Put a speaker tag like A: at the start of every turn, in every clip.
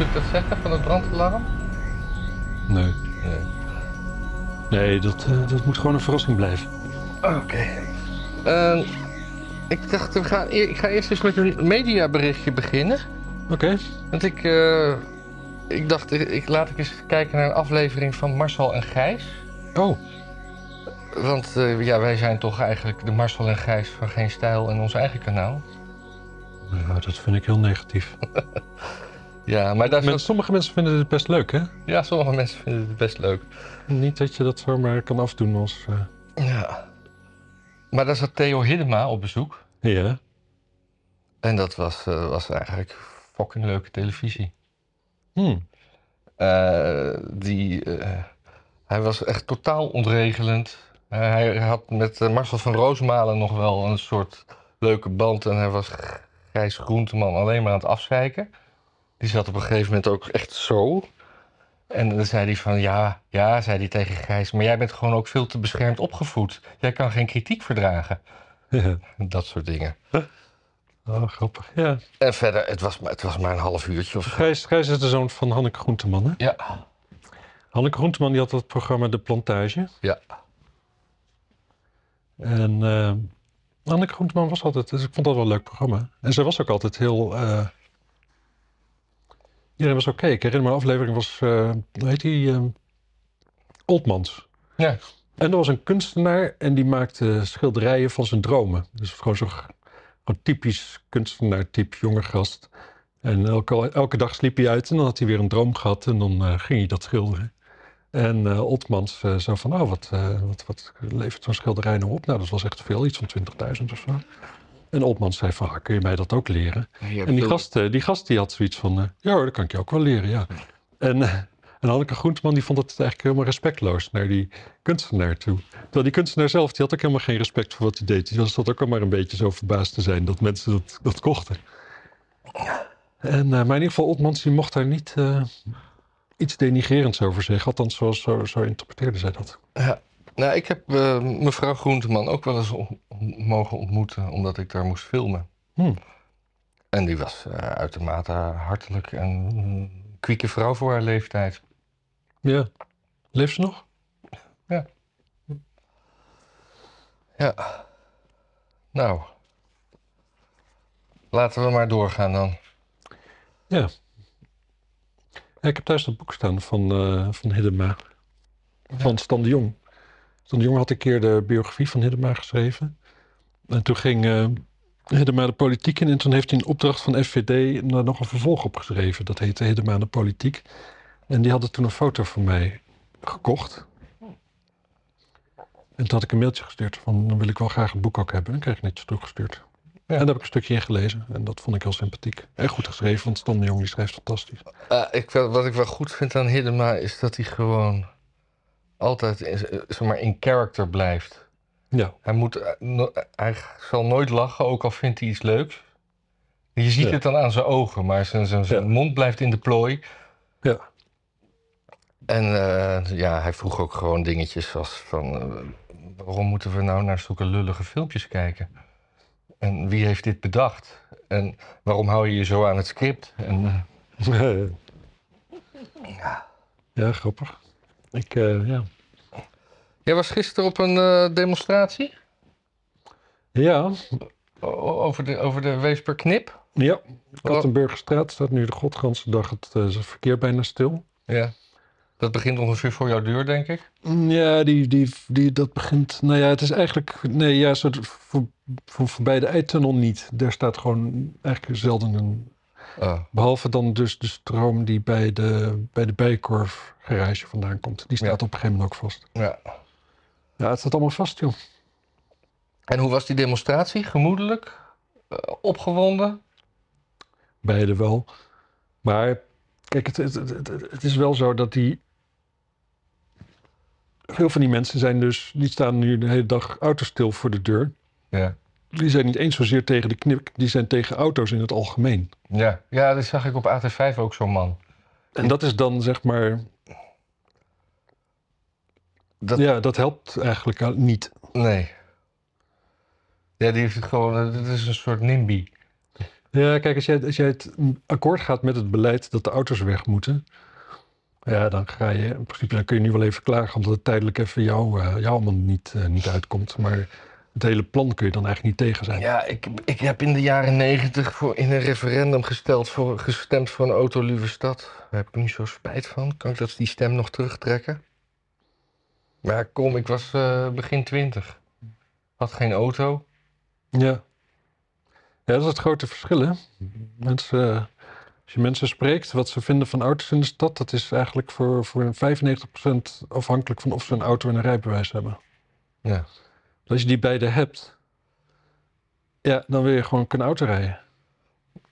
A: ik dat zeggen van het brandalarm?
B: Nee.
A: Nee.
B: Nee, dat, eh, dat moet gewoon een verrassing blijven.
A: Oké. Ehm, ik dacht, we gaan eer- ik ga eerst eens met een mediaberichtje beginnen.
B: Oké.
A: Want ik, eh, ik dacht, ik, ik- laat ik eens kijken naar een aflevering van Marcel en Gijs.
B: Oh,
A: Want eh, ja, wij zijn toch eigenlijk de Marcel en Gijs van Geen Stijl en ons eigen kanaal.
B: nou, dat vind ik heel negatief.
A: Ja, maar daar
B: Men-
A: zat-
B: sommige mensen vinden het best leuk, hè?
A: ja, sommige mensen vinden het best leuk.
B: Niet dat je dat zomaar kan afdoen als... eh,
A: Ja. Maar daar zat Theo Hiddema op bezoek.
B: Ja,
A: En dat was, eh, was eigenlijk fucking leuke televisie.
B: hm.
A: Eh, die, eh, hij was echt totaal ontregelend. Eh, hij had met eh, Marcel van Roosmalen nog wel een soort leuke band. En hij was Gijs Groenteman alleen maar aan het afzeiken. Die zat op een gegeven moment ook echt zo. En dan zei hij van, ja, ja, zei hij tegen Gijs... maar jij bent gewoon ook veel te beschermd opgevoed. Jij kan geen kritiek verdragen.
B: ja.
A: Dat soort dingen.
B: Oh, grappig. Ja.
A: En verder, het was, maar- het was maar een half uurtje of zo.
B: Gijs, Gijs is de zoon van Hanneke Groenteman, hè?
A: Ja,
B: Hanneke Groenteman die had dat programma De Plantage.
A: ja.
B: En eh, Hanneke Groenteman was altijd, dus ik vond dat wel een leuk programma. En zij was ook altijd heel. eh iedereen was oké. Ik herinner me een aflevering was, eh, hoe heet die? eh, Oldmans.
A: Ja.
B: En er was een kunstenaar en die maakte schilderijen van zijn dromen. Dus gewoon zo'n gewoon typisch kunstenaar-type jonge gast. En elke, elke dag sliep hij uit en dan had hij weer een droom gehad en dan eh, ging hij dat schilderen. En eh, Otmans eh, zo van, nou, wat, eh, wat, wat levert zo'n schilderij nou op? Nou, dat was echt veel, iets van 20.000 of zo. En Otmans zei van, ah, kun je mij dat ook leren? En die gast, eh, die gast die had zoiets van, eh, ja hoor, dat kan ik je ook wel leren, ja. En, eh, en Hanneke Groenteman die vond het eigenlijk helemaal respectloos naar die kunstenaar toe. Terwijl die kunstenaar zelf, die had ook helemaal geen respect voor wat hij deed. Die was dat ook al maar een beetje zo verbaasd te zijn dat mensen dat, dat kochten. En, eh, maar in ieder geval, Otmans die mocht daar niet eh, iets denigrerends over zeggen. Althans, zoals, zo, zo interpreteerde zij dat.
A: Nou, ik heb eh, mevrouw Groenteman ook wel eens on- mogen ontmoeten, omdat ik daar moest filmen.
B: Hmm.
A: En die was eh, uitermate hartelijk en mm, kwieke vrouw voor haar leeftijd.
B: Ja. Leeft ze nog?
A: Ja. Nou, laten we maar doorgaan dan.
B: Ja, ik heb thuis dat boek staan van, eh, van Hiddema. Van Stan de Jong. Stan de Jong had een keer de biografie van Hiddema geschreven. En toen ging eh, Hiddema de politiek in. En toen heeft hij een opdracht van FVD daar nog een vervolg op geschreven. Dat heette Hiddema de politiek. En die hadden toen een foto van mij gekocht. En toen had ik een mailtje gestuurd van dan wil ik wel graag het boek ook hebben. En dan kreeg ik netjes teruggestuurd. En daar heb ik een stukje in gelezen. En dat vond ik heel sympathiek. En goed geschreven, want Stan de Jong die schrijft fantastisch.
A: Eh, ik, wel- wat ik wel goed vind aan Hiddema is dat hij gewoon altijd in, eh, zeg maar, in character blijft.
B: Ja.
A: Hij, moet, eh, no- hij zal nooit lachen, ook al vindt hij iets leuks. Je ziet
B: Ja.
A: het dan aan zijn ogen, maar zijn, zijn, zijn
B: Ja.
A: mond blijft in de plooi.
B: Ja.
A: En eh, ja, hij vroeg ook gewoon dingetjes als van... eh, waarom moeten we nou naar zulke lullige filmpjes kijken? En wie heeft dit bedacht? En waarom hou je je zo aan het script? En, eh,
B: ja. ja, grappig. Ik, eh, ja.
A: jij was gisteren op een eh, demonstratie
B: Ja,
A: O- o- over de, over de Weesper Knip.
B: ja. Kattenburgerstraat staat nu de godganse dag het eh, is het verkeer bijna stil.
A: Ja. Dat begint ongeveer voor jouw deur, denk ik.
B: Mm, Ja, die, die, die, dat begint... Nou ja, het is eigenlijk... Nee, ja, soort voor, voor, voorbij de eitunnel niet. Daar staat gewoon eigenlijk zelden een...
A: Oh.
B: Behalve dan dus de stroom die bij de, bij de Bijenkorf garage vandaan komt. Die staat
A: Ja.
B: op een gegeven moment ook vast.
A: Ja.
B: Ja, het staat allemaal vast, joh.
A: En hoe was die demonstratie? Gemoedelijk? Eh, opgewonden?
B: beide wel. Maar kijk, het, het, het, het- het is wel zo dat die. Veel van die mensen zijn dus. Die staan nu de hele dag autostil voor de deur.
A: Ja.
B: Die zijn niet eens zozeer tegen de knip. Die zijn tegen auto's in het algemeen.
A: Ja, ja dat zag ik op AT5 ook zo'n man.
B: En dat is dan zeg maar.
A: Dat-
B: Ja, dat helpt eigenlijk al- niet.
A: Nee. Ja, die heeft het gewoon... eh, Dit is een soort NIMBY.
B: Ja, kijk, als jij, als jij het akkoord gaat met het beleid dat de auto's weg moeten. Ja, dan ga je, in principe dan kun je nu wel even klagen omdat het tijdelijk even jouw eh jouw man niet, eh, niet uitkomt. Maar het hele plan kun je dan eigenlijk niet tegen zijn.
A: Ja, ik, ik heb in de jaren negentig voor- in een referendum gesteld voor, gestemd voor een autolieve stad. Daar heb ik nu zo spijt van. Kan ik dat, die stem nog terugtrekken? Maar ja, kom, ik was eh, begin twintig. Had geen auto.
B: Ja. ja, dat is het grote verschil, hè? Mensen, eh, als je mensen spreekt wat ze vinden van auto's in de stad, dat is eigenlijk voor, voor 95% afhankelijk van of ze een auto en een rijbewijs hebben.
A: Ja.
B: Dus als je die beide hebt, ja, dan wil je gewoon kunnen autorijden.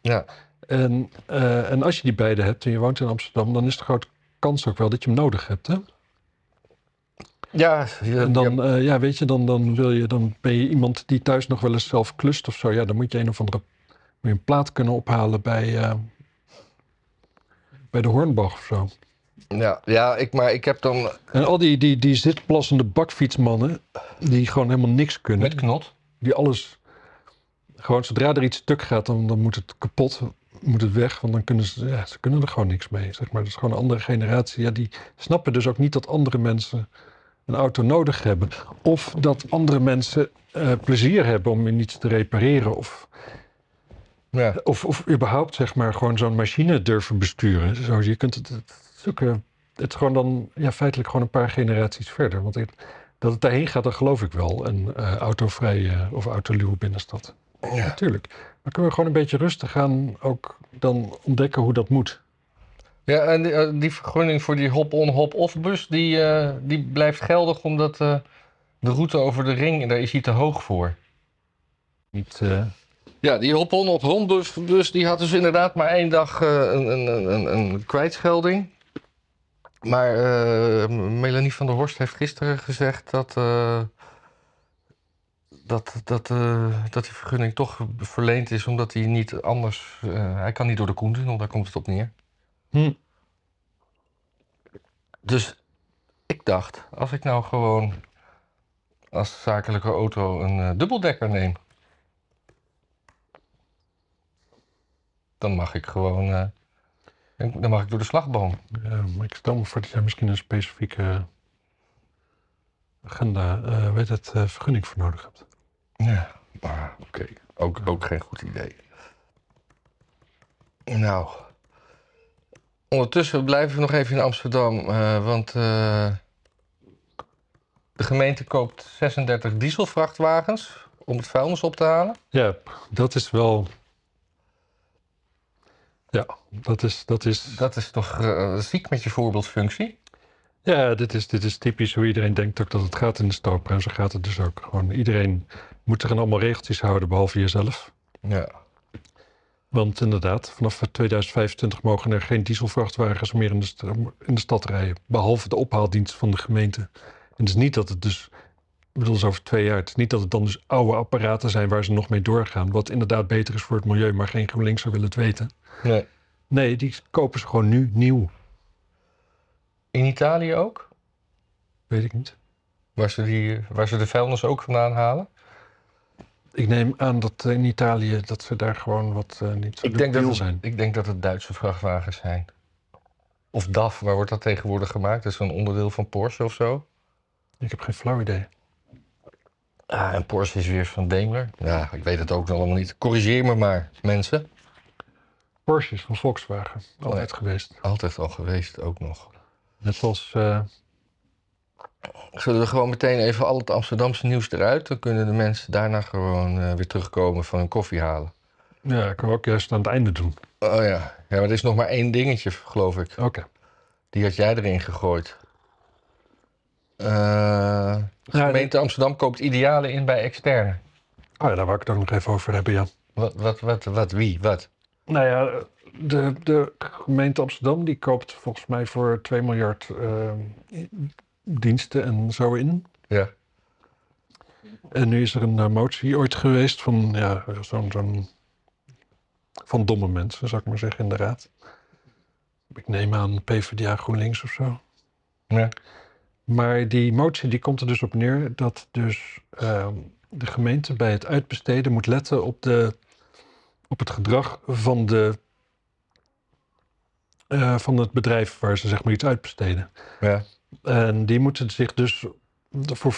A: Ja.
B: En, eh, en als je die beide hebt en je woont in Amsterdam, dan is de grote kans ook wel dat je hem nodig hebt, hè?
A: Ja,
B: En dan, ja. ja, weet je, dan, dan, wil je, dan ben je iemand die thuis nog wel eens zelf klust of zo. Ja, dan moet je een of andere moet je een plaat kunnen ophalen bij, eh, bij de Hornbach of zo.
A: ja, ja ik, maar ik heb dan...
B: En al die, die, die zitplassende bakfietsmannen, die gewoon helemaal niks kunnen.
A: Met knot?
B: Die alles, gewoon zodra er iets stuk gaat, dan, dan moet het kapot, moet het weg. Want dan kunnen ze, ja, ze kunnen er gewoon niks mee, zeg maar. Dat is gewoon een andere generatie. Ja, die snappen dus ook niet dat andere mensen een auto nodig hebben. Of dat andere mensen eh, plezier hebben om in iets te repareren. Of,
A: Ja.
B: of, of überhaupt, zeg maar, gewoon zo'n machine durven besturen. Zo, je kunt het, het, zulke- het is gewoon dan ja, feitelijk gewoon een paar generaties verder. Want het- dat het daarheen gaat, dat geloof ik wel. Een eh autovrije of autoluwe binnenstad.
A: Ja.
B: Natuurlijk. Maar kunnen we gewoon een beetje rustig aan ook dan ontdekken hoe dat moet.
A: Ja, en die, eh, die vergunning voor die hop-on, hop-off bus, die, eh, die blijft geldig omdat eh, de route over de ring, daar is hij te hoog voor. eh,
B: Niet,
A: Ja, die hop-on, hop-on bus, bus, die had dus inderdaad maar één dag eh, een, een, een- een, een kwijtschelding. Maar eh, Melanie van der Horst heeft gisteren gezegd dat, eh, dat, dat, eh, dat die vergunning toch verleend is omdat hij niet anders... eh, hij kan niet door de Koentunnel, daar komt het op neer.
B: Hm.
A: Dus ik dacht, als ik nou gewoon als zakelijke auto een eh, dubbeldekker neem, dan mag ik gewoon. eh, dan dan mag ik door de slagboom.
B: Ja, maar Ehm, ik stel me voor dat jij misschien een specifieke agenda, eh weet het, eh, vergunning voor nodig hebt.
A: Ja, maar oké. Ook, ook geen goed idee. Nou. Ondertussen blijven we nog even in Amsterdam, eh, want eh, de gemeente koopt 36 dieselvrachtwagens om het vuilnis op te halen.
B: Ja, dat is wel. Ja, dat is. Dat is
A: Dat is toch eh, ziek met je voorbeeldfunctie?
B: ja, dit is, dit is typisch hoe iedereen denkt ook dat het gaat in de stoper. En zo gaat het dus ook. Gewoon iedereen moet zich aan allemaal regeltjes houden, behalve jezelf.
A: Ja.
B: Want inderdaad, vanaf 2025 mogen er geen dieselvrachtwagens meer in de, st- in de stad rijden. Behalve de ophaaldienst van de gemeente. En het is niet dat het dus, ik bedoel, dat is over twee jaar. Het is niet dat het dan dus oude apparaten zijn waar ze nog mee doorgaan. Wat inderdaad beter is voor het milieu, maar geen GroenLinks zou willen het weten.
A: Nee.
B: Nee, die kopen ze gewoon nu nieuw.
A: In Italië ook?
B: Weet ik niet.
A: Waar ze, die, waar ze de vuilnis ook vandaan halen?
B: Ik neem aan dat eh, in Italië dat ze daar gewoon wat eh, niet zo
A: Ik denk, dat
B: debiel
A: het,
B: zijn.
A: ik denk dat het Duitse vrachtwagens zijn. Of DAF, waar wordt dat tegenwoordig gemaakt? Dat is een onderdeel van Porsche of zo.
B: Ik heb geen flauw idee.
A: Ah, en Porsche is weer van Daimler. Ja, ik weet het ook nog allemaal niet. Corrigeer me maar, mensen.
B: Porsche is van Volkswagen. Altijd geweest.
A: Altijd al geweest, ook nog.
B: Net zoals eh,
A: Zullen we gewoon meteen even al het Amsterdamse nieuws eruit? Dan kunnen de mensen daarna gewoon eh, weer terugkomen van hun koffie halen.
B: ja, kunnen we ook juist aan het einde doen.
A: Oh ja. ja, maar er is nog maar één dingetje, geloof ik.
B: Oké.
A: Die had jij erin gegooid. Eh, de gemeente Amsterdam koopt idealen in bij externe.
B: Oh ja, daar wou ik het ook nog even over hebben, ja.
A: Wat, wat, wat, wat, wie, wat?
B: Nou ja, de, de gemeente Amsterdam die koopt volgens mij voor 2 miljard eh, diensten en zo in.
A: Ja.
B: En nu is er een eh, motie ooit geweest van ja, zo'n zo'n- van domme mensen, zou ik maar zeggen, in de raad. Ik neem aan PvdA GroenLinks of zo.
A: Ja.
B: Maar die motie die komt er dus op neer dat dus ehm, de gemeente bij het uitbesteden moet letten op de op het gedrag van, de, eh, van het bedrijf waar ze zeg maar iets uitbesteden.
A: Ja.
B: En die moeten zich dus voor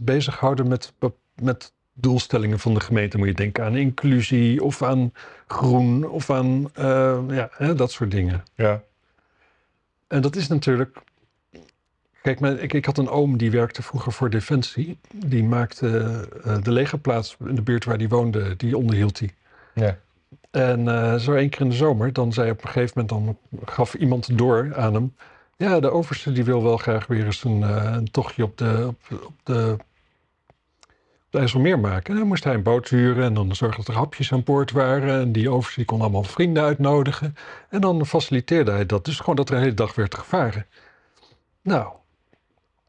B: 5% bezighouden met, be- met doelstellingen van de gemeente. Moet je denken aan inclusie of aan groen of aan eh, ja, hè, dat soort dingen.
A: Ja.
B: En dat is natuurlijk. Kijk, mijn, ik, ik had een oom die werkte vroeger voor Defensie. Die maakte eh, de legerplaats in de buurt waar hij woonde, die onderhield hij.
A: Ja.
B: En eh, zo één keer in de zomer, dan zei op een gegeven moment, dan gaf iemand door aan hem. Ja, de overste die wil wel graag weer eens een, eh, een tochtje op de, op, op de, op de IJsselmeer maken. En dan moest hij een boot huren en dan zorgde dat er hapjes aan boord waren. En die overste die kon allemaal vrienden uitnodigen. En dan faciliteerde hij dat. Dus gewoon dat er de hele dag werd gevaren. Nou,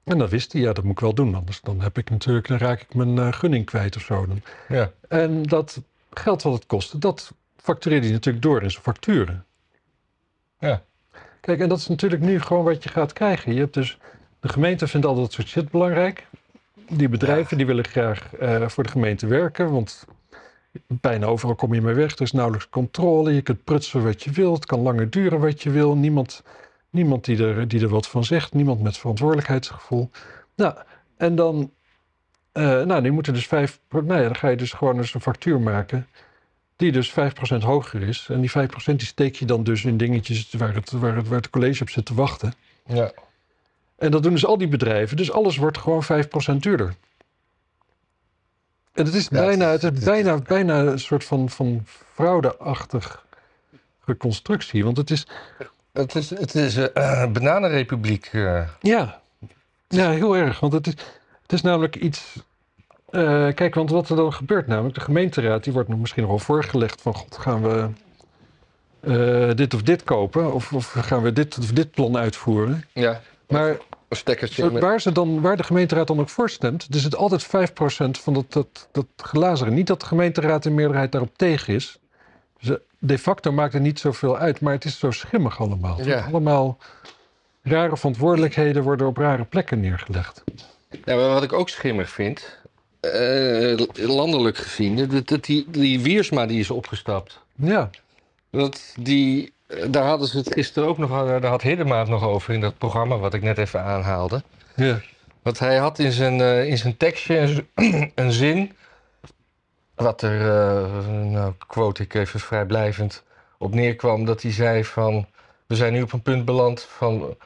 B: en dan wist hij, ja, dat moet ik wel doen. Anders dan heb ik natuurlijk, dan raak ik mijn eh, gunning kwijt of zo. Dan
A: Ja.
B: en dat geld wat het kostte, dat factureerde hij natuurlijk door in zijn facturen.
A: Ja.
B: Kijk, en dat is natuurlijk nu gewoon wat je gaat krijgen. Je hebt dus, de gemeente vindt al dat soort shit belangrijk. Die bedrijven die willen graag eh, voor de gemeente werken, want bijna overal kom je mee weg. Er is nauwelijks controle, je kunt prutsen wat je wilt, het kan langer duren wat je wil. Niemand, niemand die, er, die er wat van zegt, niemand met verantwoordelijkheidsgevoel. Nou, en dan eh, nou, die moeten dus 5. Nou ja, dan ga je dus gewoon eens een factuur maken. Die dus 5% hoger is. En die 5% die steek je dan dus in dingetjes waar het, waar, het, waar het college op zit te wachten.
A: Ja.
B: En dat doen dus al die bedrijven. Dus alles wordt gewoon 5% duurder. En het is
A: Ja, het
B: bijna,
A: is-
B: het is
A: het is-
B: bijna, bijna een soort van, van fraudeachtig reconstructie. Want het is.
A: Het is, het is eh, eh, bananenrepubliek. eh.
B: Ja. ja, heel erg. Want het is, het is namelijk iets. eh, kijk, want wat er dan gebeurt, namelijk de gemeenteraad, die wordt nog misschien nog wel voorgelegd van god, gaan we eh, dit of dit kopen? Of, of gaan we dit of dit plan uitvoeren?
A: ja.
B: Maar
A: Een stekkertje. met-
B: waar, ze dan, waar de gemeenteraad dan ook voor stemt, er zit altijd 5% van dat, dat, dat glazeren. Niet dat de gemeenteraad in meerderheid daarop tegen is. Ze, de facto maakt het niet zoveel uit, maar het is zo schimmig allemaal. Het
A: Ja.
B: wordt Allemaal rare verantwoordelijkheden worden op rare plekken neergelegd.
A: Ja, maar wat ik ook schimmig vind, eh, landelijk gezien, dat, dat die, die Wiersma die is opgestapt.
B: Ja,
A: Dat die, eh, daar hadden ze het gisteren ook nog, eh, daar had Hiddema het nog over in dat programma wat ik net even aanhaalde.
B: ja,
A: Want hij had in zijn, eh, in zijn tekstje een, z- een zin, wat er, eh, nou quote ik even vrijblijvend, op neerkwam. Dat hij zei van, we zijn nu op een punt beland van,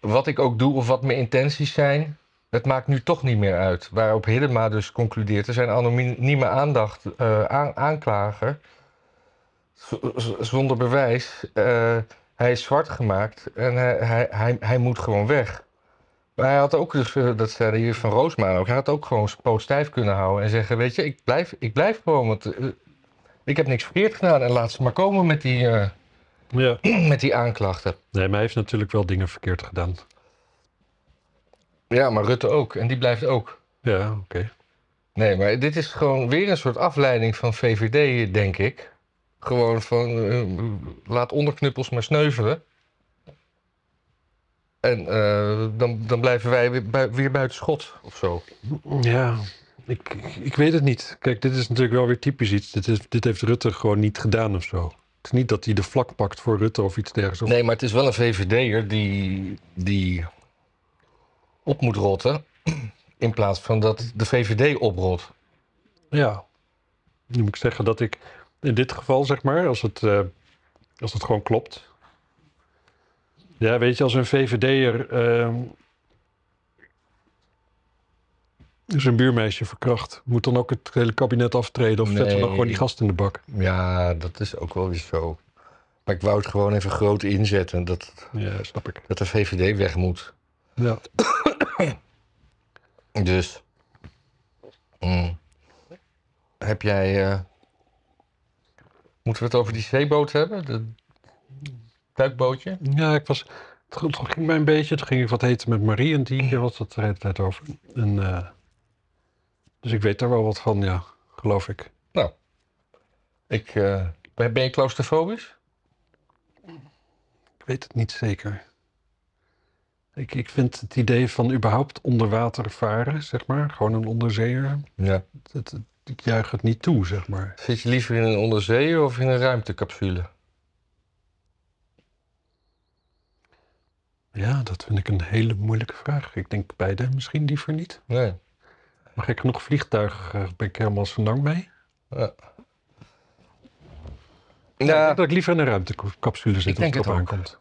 A: wat ik ook doe of wat mijn intenties zijn, het maakt nu toch niet meer uit. Waarop Hiddema dus concludeert, er zijn anonieme aandacht, eh, aan- aanklager, z- z- zonder bewijs. eh, hij is zwart gemaakt en hij, hij, hij, hij moet gewoon weg. Maar hij had ook, dus, eh, dat zei hier van Roosmaan ook, hij had ook gewoon zijn poot stijf kunnen houden en zeggen, weet je, ik blijf, ik blijf gewoon, want eh, ik heb niks verkeerd gedaan en laat ze maar komen met die, eh,
B: ja.
A: met die aanklachten.
B: Nee, maar hij heeft natuurlijk wel dingen verkeerd gedaan.
A: Ja, maar Rutte ook en die blijft ook.
B: Ja, oké.
A: Nee, maar dit is gewoon weer een soort afleiding van VVD, denk ik. Gewoon van, eh, laat onderknuppels maar sneuvelen. En eh, dan, dan blijven wij weer, bui- weer buiten schot of zo.
B: Ja, ik, ik weet het niet. Kijk, dit is natuurlijk wel weer typisch iets. Dit, is, dit heeft Rutte gewoon niet gedaan of zo. Het is niet dat hij de vlak pakt voor Rutte of iets dergelijks. Of-
A: Nee, maar het is wel een VVD'er die, die op moet rotten. In plaats van dat de VVD oprot.
B: Ja. Nu moet ik zeggen dat ik in dit geval, zeg maar, als het, eh, als het gewoon klopt. Ja, weet je, als een VVD'er ehm zijn buurmeisje verkracht, moet dan ook het hele kabinet aftreden of zetten we dan
A: Nee.
B: gewoon die gast in de bak?
A: Ja, dat is ook wel weer zo. Maar ik wou het gewoon even groot inzetten dat,
B: Ja, snap ik.
A: dat de VVD weg moet.
B: Ja.
A: Dus. mm. Heb jij. eh, moeten we het over die zeeboot hebben? Dat duikbootje?
B: Ja, ik was. Het ging- het ging mij een beetje. Toen ging ik wat eten met Marie en die keer was dat er de hele tijd over. En, eh, dus ik weet daar wel wat van, ja, geloof ik.
A: Ik, eh, ben ben je claustrofobisch?
B: Ik weet het niet zeker. Ik, ik vind het idee van überhaupt onder water varen, zeg maar, gewoon een onderzeeër.
A: Ja.
B: Het, het- ik juich het niet toe, zeg maar.
A: Zit je liever in een onderzeeër of in een ruimtecapsule?
B: Ja, dat vind ik een hele moeilijke vraag. Ik denk beide misschien liever niet.
A: Nee.
B: Maar gek genoeg vliegtuig eh, ben ik helemaal zo lang mee.
A: Ja.
B: Ik
A: Ja,
B: denk Dat ik liever in een ruimtecapsule zit
A: Ik denk
B: als het
A: het
B: op
A: ook.
B: aankomt.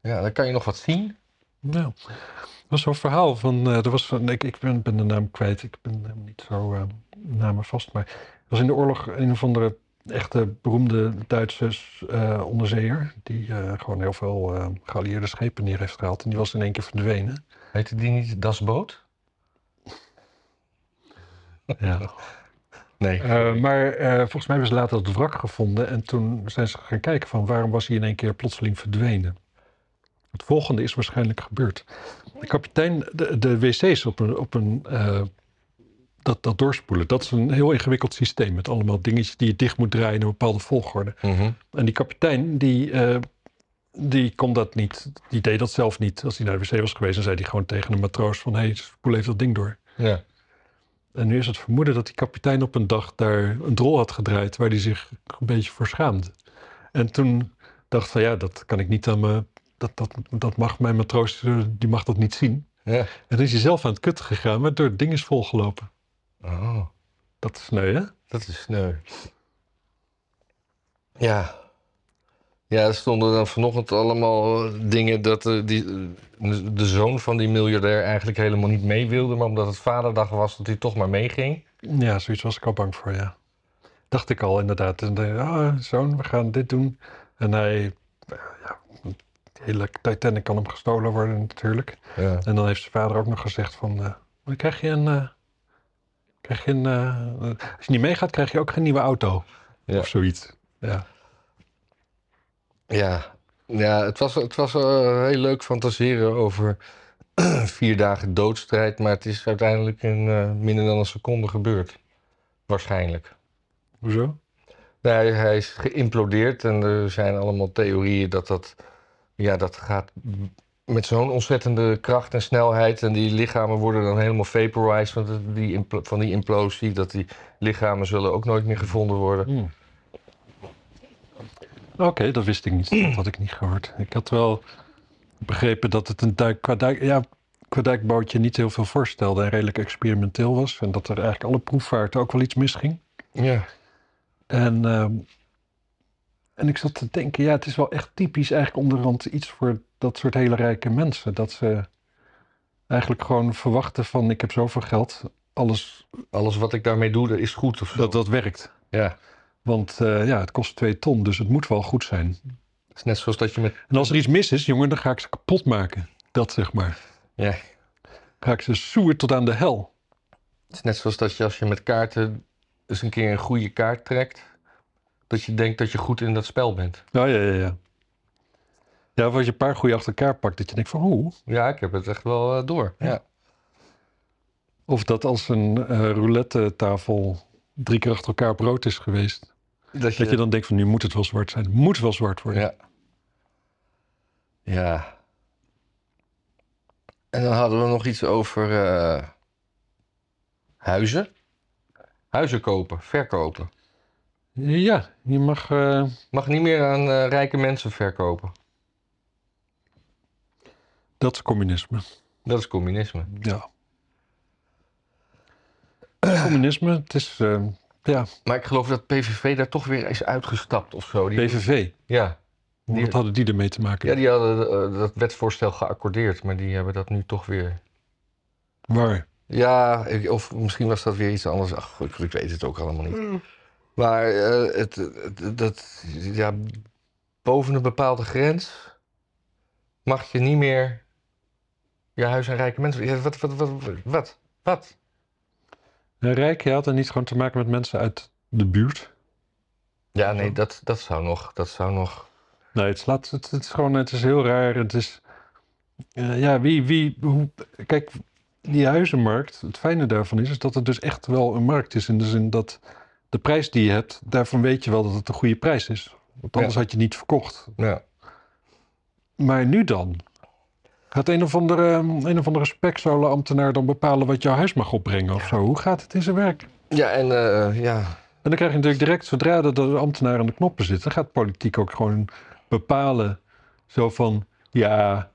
A: ja, dan kan je nog wat zien.
B: Ja. Er was zo'n verhaal van, eh, er was van ik, ik ben, ben de naam kwijt, ik ben hem niet zo eh, namen vast, maar er was in de oorlog een of andere echte beroemde Duitse eh, onderzeeër, die eh, gewoon heel veel eh geallieerde schepen neer heeft gehaald en die was in één keer verdwenen.
A: Heette die niet Dasboot?
B: Ja.
A: Nee.
B: Eh, maar eh, volgens mij hebben ze later het wrak gevonden en toen zijn ze gaan kijken van waarom was hij in één keer plotseling verdwenen. Het volgende is waarschijnlijk gebeurd. De kapitein, de, de wc's op een, op een eh, dat, dat doorspoelen, dat is een heel ingewikkeld systeem met allemaal dingetjes die je dicht moet draaien in een bepaalde volgorde.
A: Mhm.
B: En die kapitein, die, eh, die kon dat niet, die deed dat zelf niet. Als hij naar de wc was geweest, dan zei hij gewoon tegen een matroos van, hé, hey, spoel even dat ding door.
A: Ja.
B: En nu is het vermoeden dat die kapitein op een dag daar een drol had gedraaid waar hij zich een beetje voor schaamde. En toen dacht van ja, dat kan ik niet aan me. Dat, dat, dat mag mijn matroos, eh, die mag dat niet zien.
A: ja.
B: En toen is hij zelf aan het kutten gegaan, maar door het ding is volgelopen.
A: Oh,
B: Dat is sneu, hè?
A: dat is sneu. Ja. Ja, er stonden dan vanochtend allemaal eh, dingen dat eh, die, eh, de zoon van die miljardair eigenlijk helemaal niet mee wilde. Maar omdat het vaderdag was, dat hij toch maar meeging.
B: Ja, zoiets was ik al bang voor, ja. Dacht ik al inderdaad. En eh, ah, zoon, we gaan dit doen. En hij, eh, ja, de hele Titanic kan hem gestolen worden natuurlijk.
A: Ja.
B: En dan heeft zijn vader ook nog gezegd van, eh, dan krijg je een, eh, krijg je een eh, als je niet meegaat krijg je ook geen nieuwe auto.
A: Ja.
B: Of zoiets. Ja.
A: Ja, ja het was, het was eh, heel leuk fantaseren over vier dagen doodstrijd, maar het is uiteindelijk in eh, minder dan een seconde gebeurd. Waarschijnlijk.
B: Hoezo?
A: Nee, hij, hij is geïmplodeerd en er zijn allemaal theorieën dat dat, ja, dat gaat met zo'n ontzettende kracht en snelheid. En die lichamen worden dan helemaal vaporized van de- die, impl- van die implosie. Dat die lichamen zullen ook nooit meer gevonden worden.
B: Oké, dat wist ik niet. Dat had ik niet gehoord. Ik had wel begrepen dat het een duik, qua, duik, ja, qua duikbootje niet heel veel voorstelde en redelijk experimenteel was. En dat er eigenlijk alle proefvaarten ook wel iets misging.
A: Ja.
B: En, ehm, en ik zat te denken, ja, het is wel echt typisch eigenlijk onderhand iets voor dat soort hele rijke mensen. Dat ze eigenlijk gewoon verwachten van ik heb zoveel geld, alles
A: Alles wat ik daarmee doe, dat is goed of zo.
B: dat dat werkt.
A: Ja.
B: Want eh, ja, het kost twee ton, dus het moet wel goed zijn.
A: Het is net zoals dat je met
B: En als er iets mis is, jongen, dan ga ik ze kapot maken. Dat zeg maar.
A: Ja.
B: Ga ik ze soer tot aan de hel.
A: Het is net zoals dat je als je met kaarten eens een keer een goede kaart trekt, dat je denkt dat je goed in dat spel bent.
B: Nou ja, ja, ja. Ja, of als je een paar goede achter elkaar pakt, dat je denkt van hoe?
A: Ja, ik heb het echt wel eh, door. Ja.
B: Of dat als een eh, roulette tafel drie keer achter elkaar brood is geweest.
A: Dat
B: Dat je dan denkt van nu moet het wel zwart zijn. Het moet wel zwart worden.
A: Ja. Ja. En dan hadden we nog iets over eh, huizen. Huizen kopen, verkopen.
B: Ja, je mag... eh,
A: Mag niet meer aan eh, rijke mensen verkopen.
B: dat is communisme.
A: Dat is communisme.
B: Ja. communisme, het is... eh, ja,
A: Maar ik geloof dat PVV daar toch weer is uitgestapt of zo. Die-
B: PVV.
A: Ja. Die-
B: Wat hadden die ermee te maken?
A: Ja, die hadden eh, dat wetsvoorstel geaccordeerd, maar die hebben dat nu toch weer.
B: Waar?
A: Ja, ik- of misschien was dat weer iets anders. Ach, ik, ik weet het ook allemaal niet. Maar eh, het, het- dat, ja, boven een bepaalde grens mag je niet meer je huis aan rijke mensen. Ja, wat, wat, wat, wat, wat?
B: Een rijk, ja, had er niet gewoon te maken met mensen uit de buurt.
A: Ja, nee, dat, dat zou nog, dat zou nog.
B: Nee, het, slaat, het, het is gewoon, het is heel raar. Het is, eh, ja, wie, wie, hoe, kijk, die huizenmarkt, het fijne daarvan is, is dat het dus echt wel een markt is. In de zin dat de prijs die je hebt, daarvan weet je wel dat het een goede prijs is. Want anders
A: Ja.
B: had je niet verkocht.
A: Ja.
B: Maar nu dan? Gaat een of andere, eh, een of andere spekzolenambtenaar dan bepalen wat jouw huis mag opbrengen of zo? Hoe gaat het in zijn werk?
A: Ja, en eh, ja,
B: En dan krijg je natuurlijk direct, zodra dat de ambtenaar aan de knoppen zit, dan gaat politiek ook gewoon bepalen. Zo van, ja,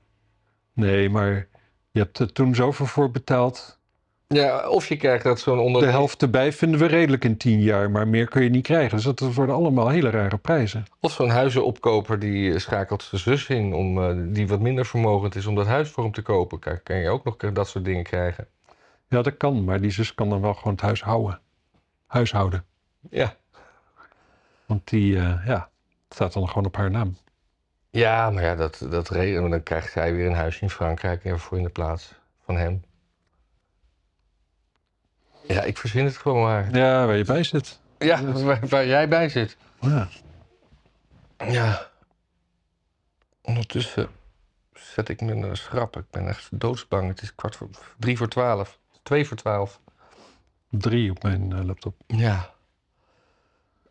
B: nee, maar je hebt er toen zoveel voor betaald.
A: ja, of je krijgt dat zo'n
B: De
A: onder...
B: helft erbij vinden we redelijk in tien jaar, maar meer kun je niet krijgen. Dus dat worden allemaal hele rare prijzen.
A: Of zo'n huizenopkoper die eh, schakelt zijn zus in, om, eh, die wat minder vermogend is om dat huis voor hem te kopen. Kan, kan je ook nog dat soort dingen krijgen.
B: Ja, dat kan, maar die zus kan dan wel gewoon het huis houden. Huishouden.
A: Ja.
B: Want die, eh, ja, het staat dan gewoon op haar naam.
A: Ja, maar ja, dat, dat reden. Maar dan krijgt zij weer een huisje in Frankrijk en voor in de plaats van hem. Ja, ik verzin het gewoon maar.
B: Ja, waar je bij zit.
A: Ja, waar, waar jij bij zit.
B: Ja.
A: Ja. Ondertussen zet ik me naar de schrap. Ik ben echt doodsbang. Het is kwart voor drie voor twaalf. Twee voor twaalf.
B: Drie op mijn eh, laptop.
A: Ja.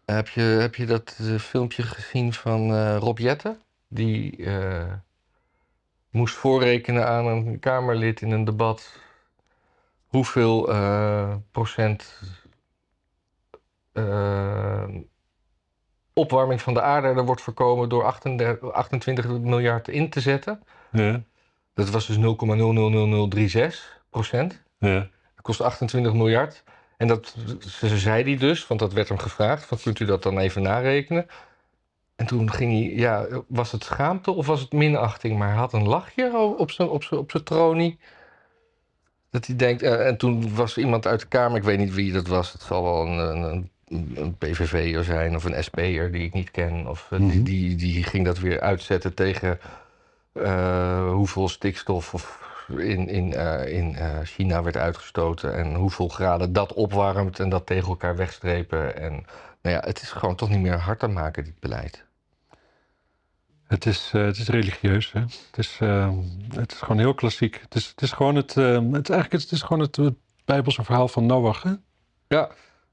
A: Heb je, heb je dat eh, filmpje gezien van eh Rob Jetten? Die eh, moest voorrekenen aan een Kamerlid in een debat hoeveel eh, procent eh, opwarming van de aarde er wordt voorkomen door 38, 28 miljard in te zetten.
B: Ja,
A: Dat was dus 0,000036 procent.
B: ja.
A: Dat kost 28 miljard. En dat ze- zei hij dus, want dat werd hem gevraagd: van, kunt u dat dan even narekenen? En toen ging hij, ja, was het schaamte of was het minachting? Maar hij had een lachje o- op zijn, op zijn, op zijn tronie. Dat hij denkt, eh, en toen was iemand uit de Kamer, ik weet niet wie dat was, het zal wel een, een, een- een PVV'er zijn of een SP'er die ik niet ken. Of, eh,
B: Mhm.
A: die, die, die ging dat weer uitzetten tegen eh, hoeveel stikstof of in, in, eh, in eh, China werd uitgestoten en hoeveel graden dat opwarmt en dat tegen elkaar wegstrepen. En nou ja, het is gewoon toch niet meer hard te maken, dit beleid.
B: Het is, eh, het is religieus. Hè? Het, is, eh, het is gewoon heel klassiek. Het is, het is gewoon het, eh, het, eigenlijk, is- het is gewoon het, eh, Bijbelse verhaal van Noach. Hè?
A: Ja.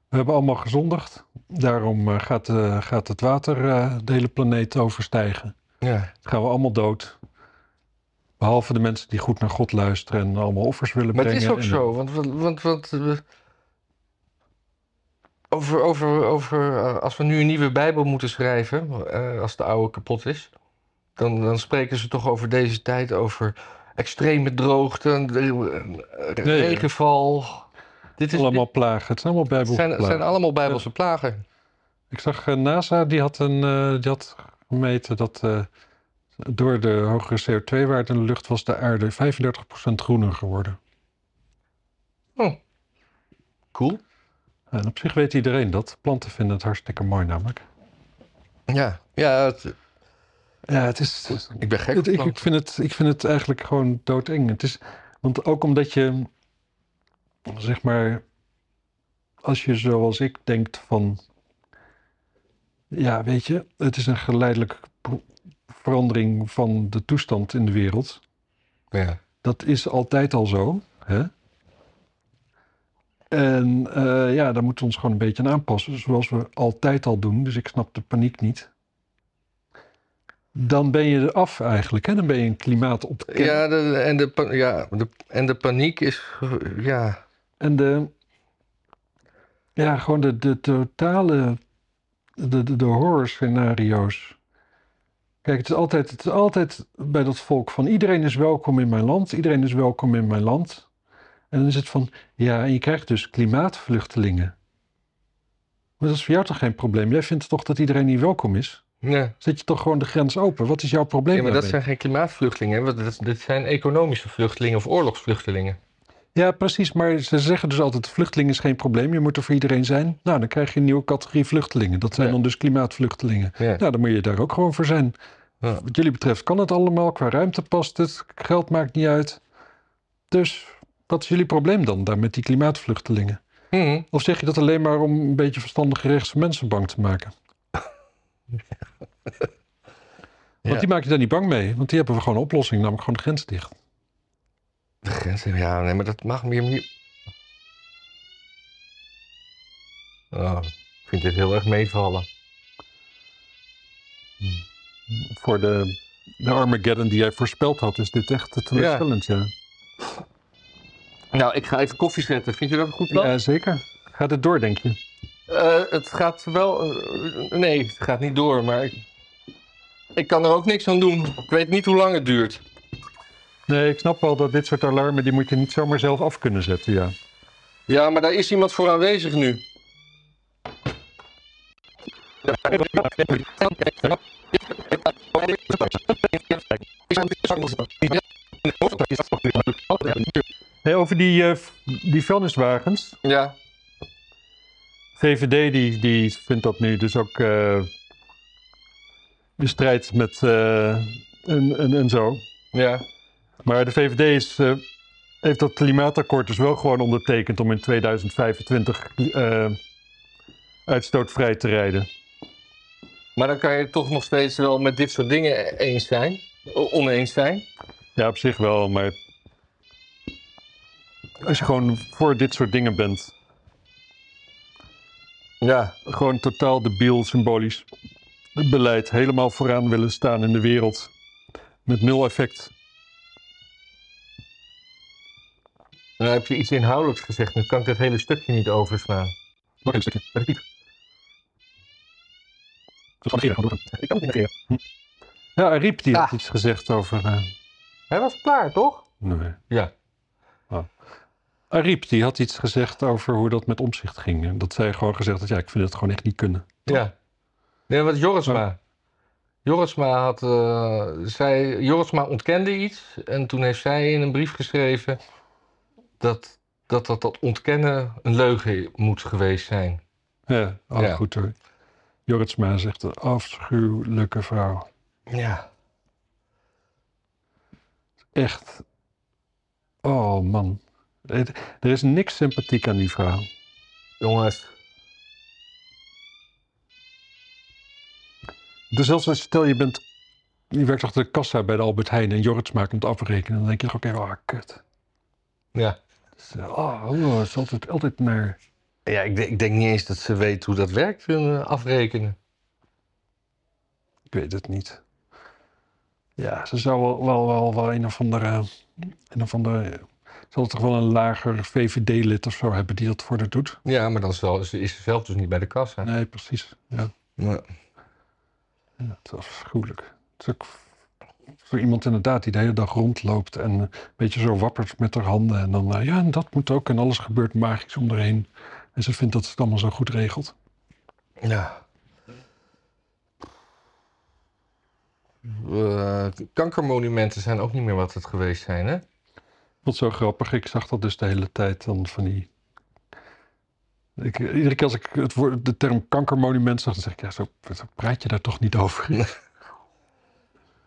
B: We hebben allemaal gezondigd. Daarom eh, gaat, eh, gaat het water eh, de hele planeet overstijgen.
A: Ja,
B: Dan gaan we allemaal dood. Behalve de mensen die goed naar God luisteren en allemaal offers willen
A: maar het
B: brengen.
A: is ook
B: en-
A: zo, want, want, want, want, eh, over, over, over, eh, als we nu een nieuwe Bijbel moeten schrijven, eh, als de oude kapot is, dan, dan spreken ze toch over deze tijd, over extreme droogte, eh,
B: ja.
A: regenval. Dit is,
B: Allemaal plagen. Het zijn allemaal
A: Het
B: Bijbelse
A: zijn, het
B: plagen.
A: zijn allemaal Bijbelse plagen.
B: Ik zag eh, NASA, die had, een, eh, die had gemeten dat eh, door de hogere CO2-waarde in de lucht was de aarde 35% groener geworden.
A: Cool.
B: En op zich weet iedereen dat. Planten vinden het hartstikke mooi namelijk.
A: Ja, ja het-
B: Ja, het is,
A: ik ben gek
B: Het-
A: op
B: ik, ik,
A: planten.
B: vind het, ik vind het eigenlijk gewoon doodeng. Het is, want ook omdat je, zeg maar, als je zoals ik denkt van, ja, weet je, het is een geleidelijke pro- verandering van de toestand in de wereld.
A: Ja.
B: Dat is altijd al zo. Hè? En eh, ja, daar moeten we ons gewoon een beetje aan aanpassen, zoals we altijd al doen. Dus ik snap de paniek niet. Dan ben je er af eigenlijk. Hè? Dan ben je een klimaat op de ken-
A: Ja, de, en, de, pa- ja de, en de paniek is. Ja,
B: En de, ja, gewoon de, de totale, de, de, de horror scenario's. Kijk, het is, altijd, het is altijd bij dat volk van iedereen is welkom in mijn land, iedereen is welkom in mijn land. En dan is het van, ja, en je krijgt dus klimaatvluchtelingen. Maar dat is voor jou toch geen probleem? Jij vindt toch dat iedereen hier welkom is?
A: ja.
B: Zet je toch gewoon de grens open? Wat is jouw probleem
A: ja maar dat
B: daarmee?
A: zijn geen klimaatvluchtelingen. hè, want Dat, dit zijn economische vluchtelingen of oorlogsvluchtelingen.
B: Ja, precies. Maar ze zeggen dus altijd: vluchtelingen is geen probleem. Je moet er voor iedereen zijn. Nou, dan krijg je een nieuwe categorie vluchtelingen. Dat zijn
A: Ja.
B: dan dus klimaatvluchtelingen.
A: Ja.
B: Nou, dan moet je daar ook gewoon voor zijn.
A: Ja.
B: Wat jullie betreft kan het allemaal. Qua ruimte past het. Geld maakt niet uit. Dus wat is jullie probleem dan daar met die klimaatvluchtelingen?
A: Mhm.
B: Of zeg je dat alleen maar om een beetje verstandige rechtse mensen bang te maken? Want
A: Ja.
B: die maak je daar niet bang mee. Want die hebben we gewoon een oplossing, namelijk gewoon de grens dicht.
A: De grens, ja, nee, maar dat mag meer. meer- Oh, ik vind dit heel erg meevallen.
B: voor de, de Armageddon die jij voorspeld had, is dit echt teleurstellend, ja.
A: Nou, ik ga even koffie zetten. Vind je dat een goed plan?
B: zeker. Gaat het door, denk je?
A: Eh, het gaat wel. eh, nee, het gaat niet door, maar. Ik, ik kan er ook niks aan doen. Ik weet niet hoe lang het duurt.
B: Nee, ik snap wel dat dit soort alarmen, die moet je niet zomaar zelf af kunnen zetten, ja.
A: Ja, maar daar is iemand voor aanwezig nu.
B: Hey, over die, eh, v- die vuilniswagens.
A: Ja,
B: VVD die, die vindt dat nu dus ook eh, de strijd met eh, en, en, en zo.
A: ja.
B: Maar de VVD is, eh, heeft dat klimaatakkoord dus wel gewoon ondertekend om in 2025 eh, uitstootvrij te rijden.
A: Maar dan kan je toch nog steeds wel met dit soort dingen eens zijn. O- Oneens zijn.
B: Ja, op zich wel, maar als je gewoon voor dit soort dingen bent,
A: Ja.
B: gewoon totaal debiel symbolisch beleid, helemaal vooraan willen staan in de wereld met nul effect.
A: Dan Nou, heb je iets inhoudelijks gezegd. Nu kan ik dat hele stukje niet overslaan.
B: Nog een stukje.
A: Dat piep. Ik kan het niet negeren.
B: Hm. Ja, Ariep die had
A: Ah.
B: iets gezegd over. eh,
A: Hij was klaar, toch?
B: nee. Ah.
A: Ja.
B: Ariep die had iets gezegd over hoe dat met omzicht ging. En dat zij gewoon gezegd had: ja, ik vind het gewoon echt niet kunnen.
A: Ja. Nee, wat Jorisma. Jorisma had, eh, zij, Jorisma ontkende iets en toen heeft zij in een brief geschreven dat dat, dat, dat ontkennen een leugen moet geweest zijn.
B: Ja, oh,
A: Ja.
B: goed hoor. Jorritsma zegt: een afschuwelijke vrouw.
A: Ja.
B: Echt. Oh man. Het- Er is niks sympathiek aan die vrouw.
A: Jongens.
B: Dus zelfs als stel je bent. Je werkt achter de kassa bij de Albert Heijn en Jorritsma komt afrekenen. Dan denk je toch ook even: ah, kut.
A: Ja.
B: Dus, eh, oh, oh, het is altijd, altijd naar.
A: Ja, ik, denk- ik denk niet eens dat ze weet hoe dat werkt, hun eh, afrekenen.
B: Ik weet het niet. Ja, ze zou wel, wel, wel, wel een of andere. Een of andere ze zal toch wel een lager VVD-lid of zo hebben die dat voor haar doet?
A: Ja, maar dan zal, ze- is ze zelf dus niet bij de kassa.
B: Nee, precies. Ja,
A: Ja.
B: ja het is afschuwelijk. Het is ook voor iemand inderdaad die de hele dag rondloopt en een beetje zo wappert met haar handen. En dan, eh, ja, en dat moet ook. En alles gebeurt magisch om haar heen. En ze vindt dat ze het allemaal zo goed regelt.
A: Ja. Eh, kankermonumenten zijn ook niet meer wat het geweest zijn, hè?
B: Wat zo grappig. Ik zag dat dus de hele tijd dan van die. Ik, eh, iedere keer als ik het woord, de term kankermonument zag, dan zeg ik, ja, zo, zo praat je daar toch niet over.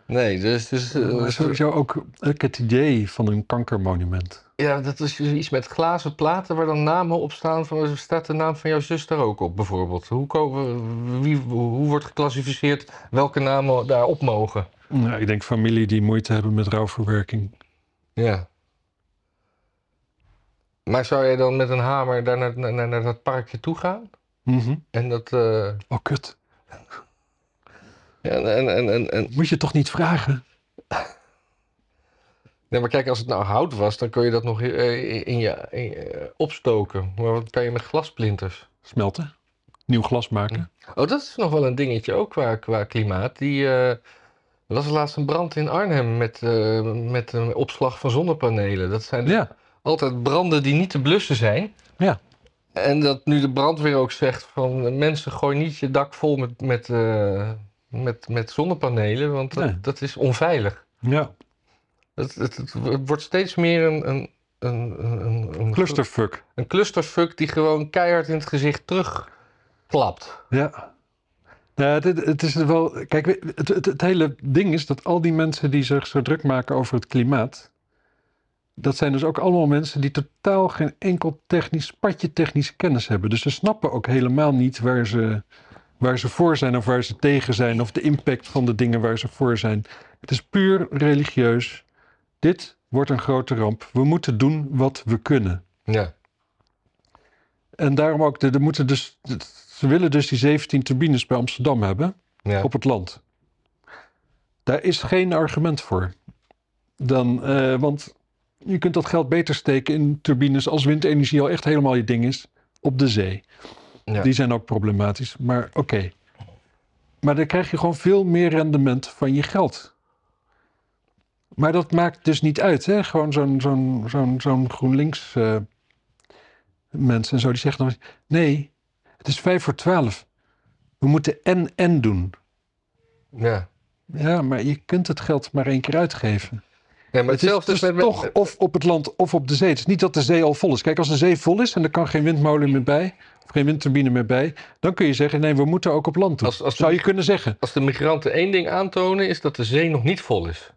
A: Nee, dus... dus eh,
B: Maar sowieso ook, ook het idee van een kankermonument.
A: ja, dat is dus iets met glazen platen waar dan namen op staan. Van, staat de naam van jouw zus daar ook op, bijvoorbeeld? Hoe, ko- wie, hoe wordt geclassificeerd welke namen daarop mogen?
B: Ja, ik denk familie die moeite hebben met rouwverwerking.
A: Ja. Maar zou jij dan met een hamer daar naar, naar, naar dat parkje toe gaan?
B: Mhm.
A: En dat... eh,
B: Oh, kut.
A: en, en, en, en, en,
B: Moet je toch niet vragen?
A: Nee, maar kijk, als het nou hout was, dan kun je dat nog eh, in je, in je, eh, opstoken. Maar wat kan je met glasplinters?
B: Smelten. Nieuw glas maken.
A: Oh, dat is nog wel een dingetje ook qua, qua klimaat. Die, eh, er was laatst een brand in Arnhem met, eh, met een opslag van zonnepanelen. Dat zijn dus
B: Ja.
A: altijd branden die niet te blussen zijn.
B: Ja.
A: En dat nu de brandweer ook zegt van eh, mensen gooi niet je dak vol met, met, eh, met, met zonnepanelen, want dat,
B: Nee.
A: dat is onveilig.
B: ja.
A: Het, het, het wordt steeds meer een, een, een, een, een
B: Clusterfuck.
A: Een clusterfuck die gewoon keihard in het gezicht terugklapt.
B: Ja. Nou, dit, het is wel. Kijk, we- het, het, het hele ding is dat al die mensen die zich zo druk maken over het klimaat. Dat zijn dus ook allemaal mensen die totaal geen enkel technisch, patje technische kennis hebben. Dus ze snappen ook helemaal niet waar ze, waar ze voor zijn of waar ze tegen zijn. Of de impact van de dingen waar ze voor zijn. Het is puur religieus. Dit wordt een grote ramp. We moeten doen wat we kunnen.
A: Ja.
B: En daarom ook, de, de moeten dus, ze willen dus die 17 turbines bij Amsterdam hebben
A: ja.
B: op het land. Daar is geen argument voor. Dan, eh, want je kunt dat geld beter steken in turbines als windenergie al echt helemaal je ding is. op de zee.
A: Ja.
B: Die zijn ook problematisch, maar oké. Maar dan krijg je gewoon veel meer rendement van je geld. Maar dat maakt dus niet uit, hè? Gewoon zo'n zo'n zo'n zo'n GroenLinks eh, mensen en zo, die zeggen dan... Nee, het is vijf voor twaalf. We moeten en-en doen.
A: Ja.
B: Ja, maar je kunt het geld maar één keer uitgeven.
A: Ja, maar
B: het is
A: hetzelfde
B: dus
A: is, met, met-
B: toch of op het land of op de zee. Het is niet dat de zee al vol is. Kijk, als de zee vol is en er kan geen windmolen meer bij... of geen windturbine meer bij... dan kun je zeggen, nee, we moeten ook op land doen.
A: Als- als de-
B: Zou je kunnen zeggen.
A: Als de migranten één ding aantonen, is dat de zee nog niet vol is.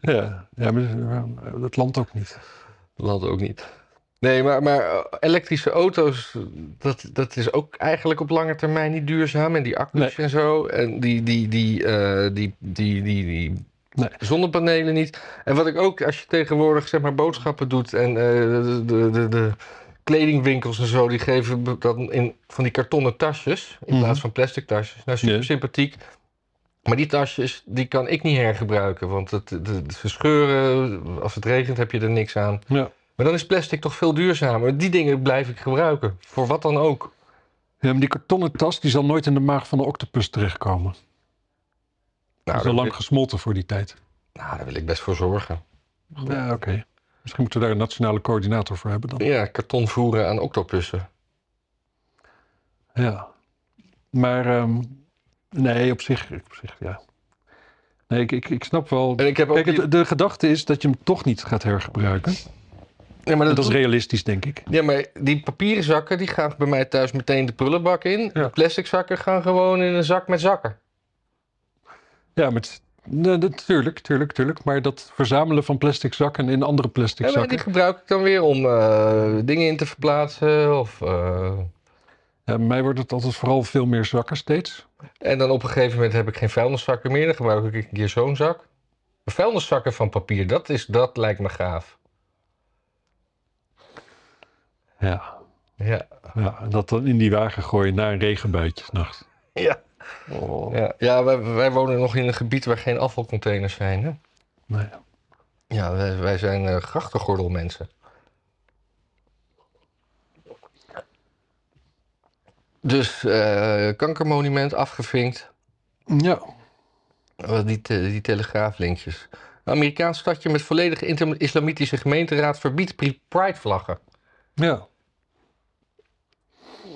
B: Ja, ja maar eh, dat land ook niet.
A: Land ook niet. Nee, maar, maar eh, elektrische auto's, dat, dat is ook eigenlijk op lange termijn niet duurzaam. En die accu's
B: Nee.
A: en zo. En die, die, die, eh, die, die, die, die
B: Nee.
A: zonnepanelen niet. En wat ik ook, als je tegenwoordig zeg maar boodschappen doet en eh, de, de, de, de kledingwinkels en zo, die geven be- dat in van die kartonnen tasjes in
B: Mhm.
A: plaats van plastic tasjes. Nou, super
B: Ja.
A: sympathiek. Maar die tasjes, die kan ik niet hergebruiken, want het, het, het- ze scheuren. Als het regent heb je er niks aan.
B: Ja.
A: Maar dan is plastic toch veel duurzamer. Die dingen blijf ik gebruiken. Voor wat dan ook.
B: Ja, maar die kartonnen tas die zal nooit in de maag van de octopus terechtkomen. die
A: Nou,
B: is al
A: daar,
B: lang
A: wil,
B: gesmolten voor die tijd.
A: nou, daar wil ik best voor zorgen.
B: Ja, oké. Misschien moeten we daar een nationale coördinator voor hebben dan.
A: Ja, karton voeren aan octopussen.
B: Ja. Maar ehm, nee, op zich, op zich ja. Nee, ik, ik, ik snap wel.
A: En ik heb ook...
B: Kijk,
A: die-
B: het- de gedachte is dat je hem toch niet gaat hergebruiken.
A: ja, maar
B: En
A: dat
B: dat is
A: doet-
B: realistisch, denk ik.
A: ja, maar die papieren zakken, die gaan bij mij thuis meteen de prullenbak in. De plastic zakken gaan gewoon in een zak met zakken.
B: Ja, maar het- nee, dat- tuurlijk, tuurlijk, tuurlijk. Maar dat verzamelen van plastic zakken in andere plastic
A: En maar
B: zakken.
A: die gebruik ik dan weer om eh, dingen in te verplaatsen. Of, eh,
B: Ja, bij mij wordt het altijd vooral veel meer zakken steeds.
A: En dan op een gegeven moment heb ik geen vuilniszakken meer. Dan gebruik ik een keer zo'n zak. Maar vuilniszakken van papier, dat, is, dat lijkt me gaaf.
B: Ja.
A: Ja.
B: Ja, en dat dan in die wagen gooien na een regenbuitje s'nachts. Oh.
A: Ja. Ja, ja wij, wij wonen nog in een gebied waar geen afvalcontainers zijn. Hè?
B: Nee.
A: Ja, wij, wij zijn eh grachtengordelmensen. Dus eh, kankermonument afgevinkt.
B: Ja,
A: Eh, Die, te- die telegraaflinkjes. Een Amerikaans stadje met volledig inter- islamitische gemeenteraad verbiedt pri- pride-vlaggen.
B: ja.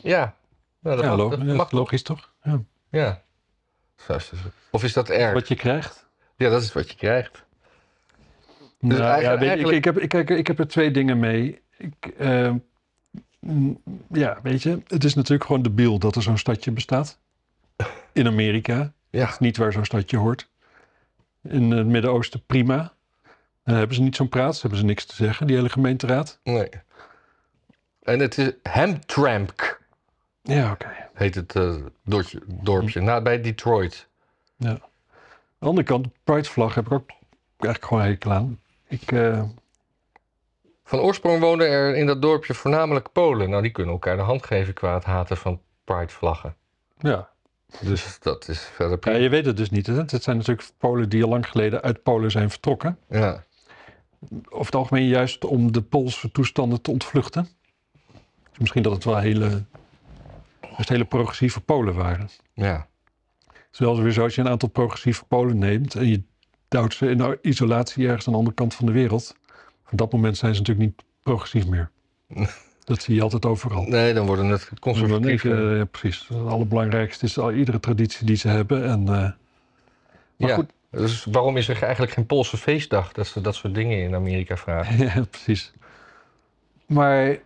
A: Ja. Nou,
B: ja, lo-
A: dat
B: ja,
A: mag toch?
B: logisch toch? Ja.
A: Ja. Zo is het. Of is dat erg?
B: Wat je krijgt.
A: Ja, dat is wat je krijgt.
B: Nou, ja,
A: eigenlijk-
B: weet je,
A: eigenlijk-
B: ik, ik, heb, ik, kijk, ik heb er twee dingen mee. Ik, eh, mm, ja, weet je, het is natuurlijk gewoon debiel dat er zo'n stadje bestaat. In Amerika,
A: Ja.
B: niet waar zo'n stadje hoort. In het Midden-Oosten prima. Dan hebben ze niet zo'n praat, ze hebben ze niks te zeggen, die hele gemeenteraad.
A: Nee. En het is Hamtramck,
B: Ja, oké.
A: heet het eh, dorpje, dorpje nabij Detroit.
B: Aan de andere kant, de Pride-vlag heb ik ook eigenlijk gewoon hekel aan. Ik, eh,
A: Van oorsprong woonden er in dat dorpje voornamelijk Polen. Nou, die kunnen elkaar de hand geven qua het haten van Pride-vlaggen.
B: ja.
A: Dus dat is verder
B: ja,
A: prima.
B: je weet het dus niet. Hè? Het zijn natuurlijk Polen die al lang geleden uit Polen zijn vertrokken.
A: Ja.
B: Over het algemeen juist om de Poolse toestanden te ontvluchten. Dus misschien dat het wel hele, juist hele progressieve Polen waren.
A: ja.
B: Terwijl ze weer zo, als je een aantal progressieve Polen neemt en je duwt ze in isolatie ergens aan de andere kant van de wereld. Op dat moment zijn ze natuurlijk niet progressief meer. Dat zie je altijd overal.
A: Nee, dan worden het
B: Dan denk
A: conservatieve.
B: je, eh, ja, precies. Het allerbelangrijkste is al, iedere traditie die ze hebben. En, eh, maar
A: ja.
B: goed,
A: Dus waarom is er eigenlijk geen Poolse feestdag dat ze dat soort dingen in Amerika vragen?
B: ja, precies. Maar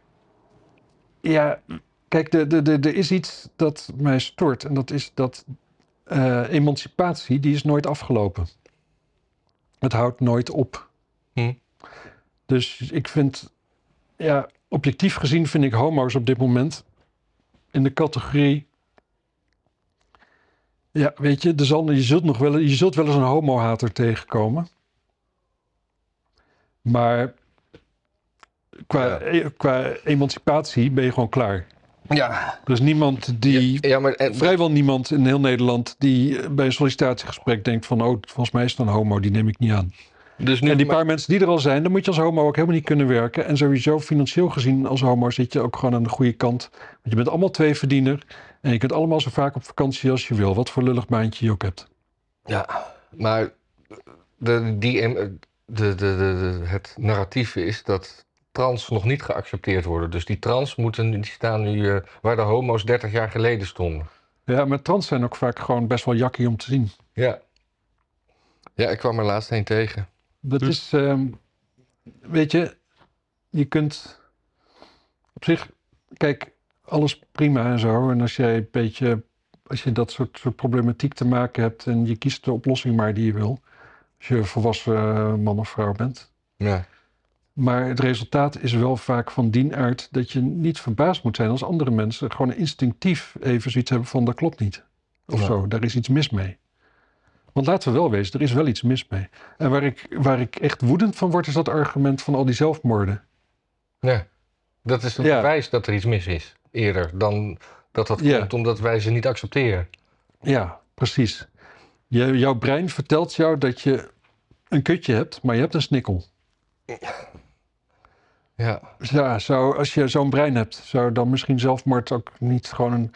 B: ja, kijk, de- de- de- er is iets dat mij stoort. En dat is dat eh, emancipatie, die is nooit afgelopen. Het houdt nooit op.
A: Hm.
B: Dus ik vind, ja, objectief gezien vind ik homo's op dit moment in de categorie... Ja, weet je, er zal, je, zult nog wel, je zult wel eens een homohater tegenkomen. Maar qua,
A: Ja.
B: eh, qua emancipatie ben je gewoon klaar.
A: Ja.
B: Er is niemand die...
A: Ja, maar en,
B: Vrijwel niemand eh, in heel Nederland die eh, bij een sollicitatiegesprek denkt van... oh, volgens mij is het een homo, die neem ik niet aan.
A: Dus nu,
B: en die
A: maar-
B: paar mensen die er al zijn, dan moet je als homo ook helemaal niet kunnen werken. En sowieso financieel gezien als homo zit je ook gewoon aan de goede kant. Want je bent allemaal tweeverdiener. En je kunt allemaal zo vaak op vakantie als je wil. Wat voor lullig baantje je ook hebt.
A: Ja, maar de, die, em- de, de, de, de- het narratief is dat trans nog niet geaccepteerd worden. Dus die trans moeten, nu- die staan nu eh, waar de homo's 30 jaar geleden stonden.
B: Ja, maar trans zijn ook vaak gewoon best wel jakkie om te zien.
A: Ja. Ja, ik kwam er laatst een tegen.
B: Dat
A: Dus-
B: is, ehm, weet je, je kunt op zich, kijk, alles prima en zo. En als jij een beetje, als je dat soort, soort problematiek te maken hebt en je kiest de oplossing maar die je wil, als je volwassen eh, man of vrouw bent.
A: Ja.
B: Maar het resultaat is wel vaak van dien aard dat je niet verbaasd moet zijn als andere mensen gewoon instinctief even zoiets hebben van dat klopt niet. Of
A: Ja.
B: zo, daar is iets mis mee. Want laten we wel wezen, er is wel iets mis mee. En waar ik, waar ik echt woedend van word, is dat argument van al die zelfmoorden.
A: ja. Dat is een
B: Ja.
A: bewijs dat er iets mis is. Eerder dan dat dat
B: Ja.
A: komt omdat wij ze niet accepteren.
B: Ja, precies. Je, jouw brein vertelt jou dat je een kutje hebt, maar je hebt een snikkel.
A: Ja.
B: Ja, zou, als je zo'n brein hebt, zou dan misschien zelfmoord ook niet gewoon een...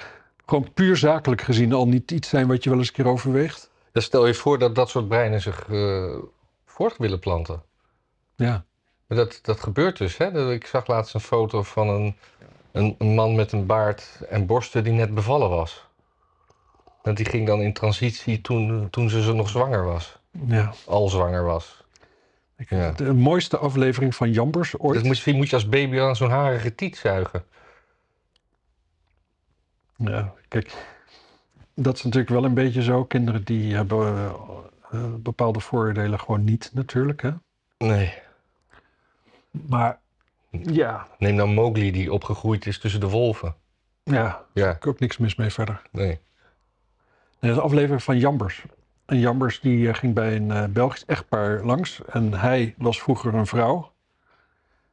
B: Gewoon puur zakelijk gezien al niet iets zijn wat je wel eens een keer overweegt?
A: Dus stel je voor dat dat soort breinen zich eh, voort willen planten.
B: Ja.
A: Maar dat, dat gebeurt dus. Hè? Dat- Ik zag laatst een foto van een, een, een man met een baard en borsten die net bevallen was. En die ging dan in transitie toen, toen ze zo nog zwanger was.
B: ja.
A: Al zwanger was.
B: Ik-
A: Ja.
B: De mooiste aflevering van Jambers ooit.
A: Dus misschien moet je als baby aan zo'n harige tiet zuigen.
B: Ja, kijk, dat is natuurlijk wel een beetje zo. Kinderen die hebben eh, eh, bepaalde voordelen gewoon niet natuurlijk. Hè?
A: Nee.
B: Maar ja.
A: Neem dan Mowgli die opgegroeid is tussen de wolven.
B: Ja,
A: Ja,
B: ik ook niks mis mee verder.
A: nee.
B: Nee, dat is een aflevering van Jambers. En Jambers die eh, ging bij een eh, Belgisch echtpaar langs. En hij was vroeger een vrouw.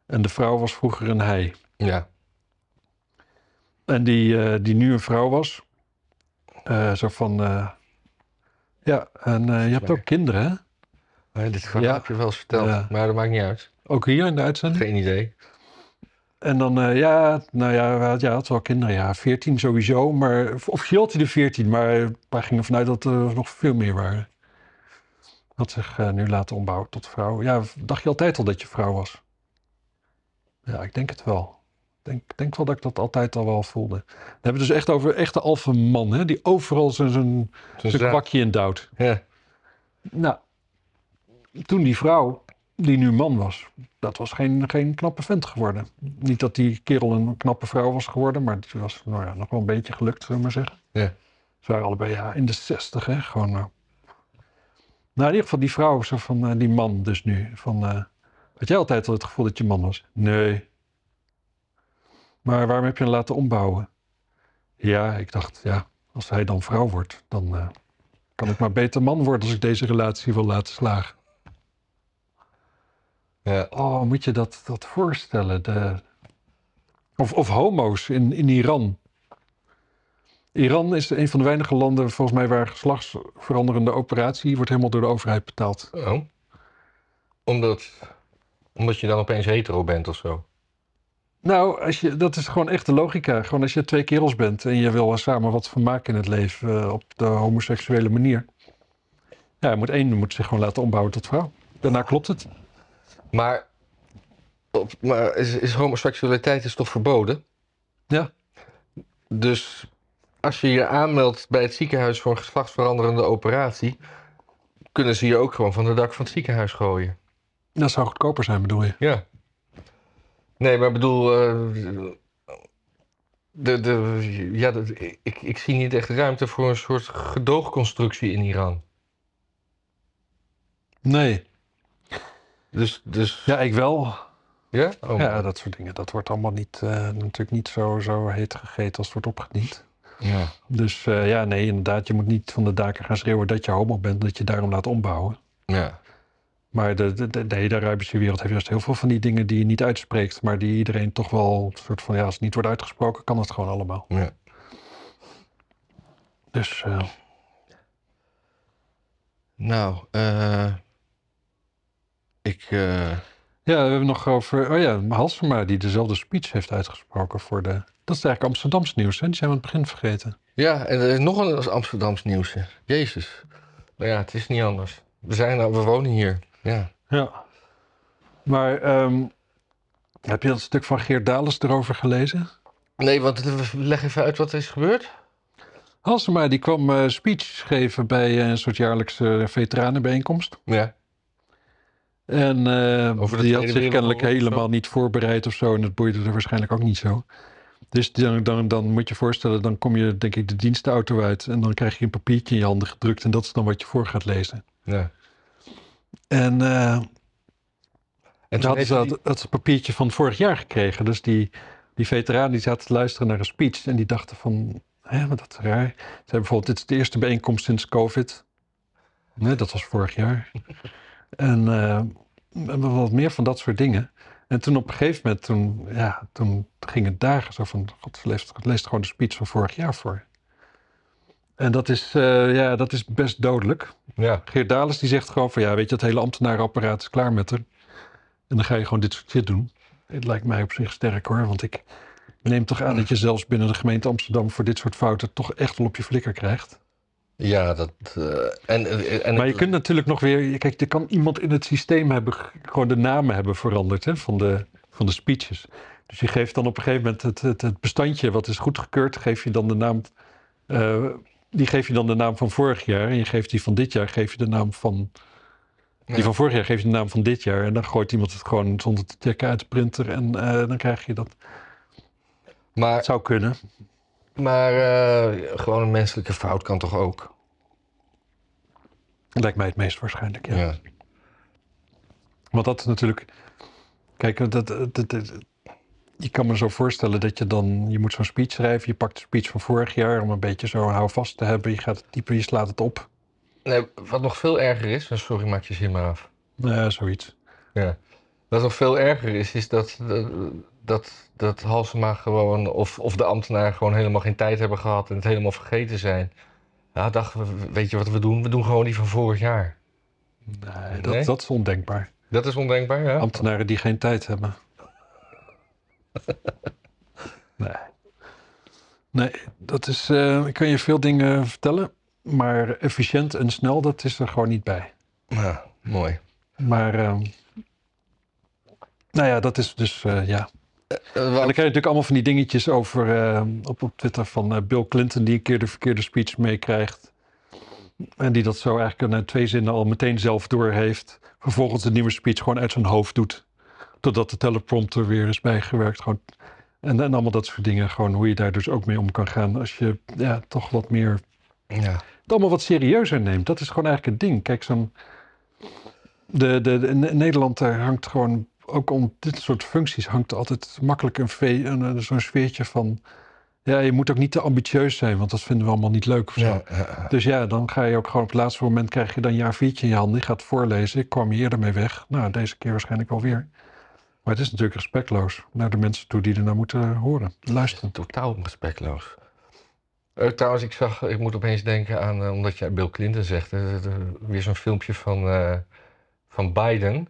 B: En de vrouw was vroeger een hij.
A: Ja.
B: En die, eh, die nu een vrouw was. Eh, zo van. eh, ja, en eh, je hebt
A: Lekker.
B: ook kinderen, hè?
A: Maar dit verhaal
B: Ja.
A: heb je wel eens verteld,
B: Ja.
A: maar dat maakt niet uit.
B: Ook hier in de uitzending.
A: Geen idee.
B: En dan, eh, ja, nou ja, we had- ja, had wel kinderen. Ja, 14 sowieso. Maar officieel had hij er 14, maar wij gingen vanuit dat er nog veel meer waren. Had zich eh, nu laten ombouwen tot vrouw. Ja, dacht je altijd al dat je vrouw was? Ja, ik denk het wel. Ik denk, denk wel dat ik dat altijd al wel voelde. Dan hebben we het dus echt over echte alpha man, hè? Die overal zijn, zijn
A: Dus
B: een
A: ja.
B: kwakje in douwt.
A: Ja.
B: Nou, toen die vrouw, die nu man was, dat was geen, geen knappe vent geworden. Niet dat die kerel een knappe vrouw was geworden, maar die was nou ja, nog wel een beetje gelukt, zullen we maar zeggen.
A: Ja.
B: Ze waren allebei ja, in de zestig, hè, gewoon nou. Nou, in ieder geval die vrouw, zo van eh, die man dus nu, van... eh, had jij altijd al het gevoel dat je man was? Nee. Maar waarom heb je hem laten ombouwen? Ja, ik dacht, ja, als hij dan vrouw wordt, dan eh, kan ik maar beter man worden als ik deze relatie wil laten slagen.
A: Ja.
B: Oh, moet je dat, dat voorstellen? De... Of, of homo's in, in Iran. Iran is een van de weinige landen, volgens mij, waar geslachtsveranderende operatie wordt helemaal door de overheid betaald.
A: Oh. Omdat, omdat je dan opeens hetero bent of zo.
B: Nou, als je, dat is gewoon echt de logica. Gewoon als je twee kerels bent en je wil er samen wat van maken in het leven eh, op de homoseksuele manier. Ja, je moet één moet zich gewoon laten ombouwen tot vrouw. Daarna klopt het.
A: Maar, op, maar is, is homoseksualiteit is toch verboden?
B: Ja.
A: Dus als je je aanmeldt bij het ziekenhuis voor een geslachtsveranderende operatie, kunnen ze je ook gewoon van de dak van het ziekenhuis gooien.
B: Dat zou goedkoper zijn, bedoel je?
A: Ja. Nee, maar ik bedoel. eh, de, de, ja, de- ik, ik zie niet echt ruimte voor een soort gedoogconstructie in Iran.
B: Nee.
A: Dus, dus
B: Ja, ik wel.
A: ja? Oh.
B: Ja, dat soort dingen. Dat wordt allemaal niet, eh, natuurlijk niet zo, zo heet gegeten als het wordt opgediend.
A: ja.
B: Dus eh, ja, nee, inderdaad. Je moet niet van de daken gaan schreeuwen dat je homo bent. Dat je daarom laat ombouwen.
A: ja.
B: Maar de, de, de, de hele Arabische wereld heeft juist heel veel van die dingen die je niet uitspreekt. Maar die iedereen toch wel een soort van, ja, als het niet wordt uitgesproken, kan het gewoon allemaal.
A: ja.
B: Dus eh,
A: Nou, eh, Ik, eh,
B: Ja, we hebben nog over. Oh ja, Halsema die dezelfde speech heeft uitgesproken voor de. Dat is eigenlijk Amsterdams nieuws, hè? Die zijn we aan het begin vergeten.
A: ja, en er is nog een Amsterdams nieuwsje. Jezus. Maar ja, het is niet anders. We, zijn, we wonen hier. Ja.
B: Ja. Maar ehm, heb je dat stuk van Geert Dales erover gelezen?
A: Nee, want leg even uit wat er is gebeurd.
B: Halsema die kwam eh, speech geven bij eh, een soort jaarlijkse veteranenbijeenkomst.
A: Ja.
B: En eh,
A: Over de
B: die had
A: Tweede
B: zich kennelijk
A: Wereldoorlog of zo?
B: helemaal niet voorbereid of zo. En dat boeide er waarschijnlijk ook niet zo. Dus dan, dan, dan moet je voorstellen, dan kom je denk ik de dienstenauto uit. En dan krijg je een papiertje in je handen gedrukt. En dat is dan wat je voor gaat lezen.
A: ja.
B: En eh
A: En
B: toen hadden
A: heeft
B: ze
A: hij-
B: dat, dat papiertje van vorig jaar gekregen. Dus die, die veteraan die zaten te luisteren naar een speech. En die dachten van, hè, wat dat is raar. Ze hebben bijvoorbeeld, dit is de eerste bijeenkomst sinds COVID. Nee, dat was vorig jaar. en eh, we hebben wat meer van dat soort dingen. En toen op een gegeven moment, toen, ja, toen ging het dagen zo van, god, ze leest, leest gewoon de speech van vorig jaar voor. En dat is, eh, ja, dat is best dodelijk.
A: Ja.
B: Geert Dales die zegt gewoon van ja, weet je, het hele ambtenarenapparaat is klaar met haar. En dan ga je gewoon dit soort shit doen. Het lijkt mij op zich sterk hoor, want ik neem toch aan dat je zelfs binnen de gemeente Amsterdam voor dit soort fouten toch echt wel op je flikker krijgt.
A: Ja, dat. eh, en, en, en-
B: Maar je kunt natuurlijk nog weer, kijk, er kan iemand in het systeem hebben, g- gewoon de namen hebben veranderd hè, van, de, van de speeches. Dus je geeft dan op een gegeven moment het, het, het bestandje wat is goedgekeurd, geef je dan de naam, eh, die geef je dan de naam van vorig jaar en je geeft die van dit jaar, geef je de naam van
A: Ja.
B: Die van vorig jaar geeft je de naam van dit jaar. En dan gooit iemand het gewoon zonder te checken uit de printer. En eh, dan krijg je dat.
A: Maar,
B: Het zou kunnen.
A: maar eh, gewoon een menselijke fout kan toch ook?
B: Lijkt mij het meest waarschijnlijk, ja. Want dat is natuurlijk... Kijk, dat, dat, dat- dat- je kan me zo voorstellen dat je dan... Je moet zo'n speech schrijven. Je pakt de speech van vorig jaar om een beetje zo houvast te hebben. Je gaat het typen, je slaat het op.
A: Nee, wat nog veel erger is, en sorry, maak je zin maar af.
B: Eh, zoiets.
A: Ja. Wat nog veel erger is, is dat, dat, dat, dat Halsema gewoon, of, of de ambtenaren gewoon helemaal geen tijd hebben gehad en het helemaal vergeten zijn. Ja, dachten we, weet je wat we doen? We doen gewoon die van vorig jaar.
B: Nee, dat,
A: Nee?
B: dat is ondenkbaar.
A: Dat is ondenkbaar, ja?
B: Ambtenaren die geen tijd hebben. nee. Nee, dat is. eh, ik kan je veel dingen vertellen. Maar efficiënt en snel, dat is er gewoon niet bij.
A: Ja, mooi.
B: Maar. ehm, nou ja, dat is dus. eh, ja.
A: Eh, wat-
B: En dan krijg je natuurlijk allemaal van die dingetjes over eh, op, op Twitter van eh, Bill Clinton die een keer de verkeerde speech meekrijgt. En die dat zo eigenlijk na twee zinnen al meteen zelf doorheeft. Vervolgens de nieuwe speech gewoon uit zijn hoofd doet. Totdat de teleprompter weer is bijgewerkt. Gewoon. En, en allemaal dat soort dingen. Gewoon hoe je daar dus ook mee om kan gaan. Als je ja, toch wat meer
A: ja.
B: het allemaal wat serieuzer neemt. Dat is gewoon eigenlijk het ding. Kijk, zo'n. De, de, de- in Nederland daar hangt gewoon. Ook om dit soort functies hangt altijd makkelijk een, ve- een, een- zo'n sfeertje van. Ja, je moet ook niet te ambitieus zijn, want dat vinden we allemaal niet leuk. Of zo.
A: Ja, ja, ja.
B: Dus ja, dan ga je ook gewoon op het laatste moment krijg je dan je A4'tje in je handen. Je gaat voorlezen. Ik kwam hier eerder mee weg. Nou, deze keer waarschijnlijk wel weer. Maar het is natuurlijk respectloos naar de mensen toe die er naar moeten eh, horen, luisteren.
A: Totaal respectloos. Eh, trouwens, ik zag, ik moet opeens denken aan, eh, omdat je Bill Clinton zegt, eh, eh, weer zo'n filmpje van, eh, van Biden.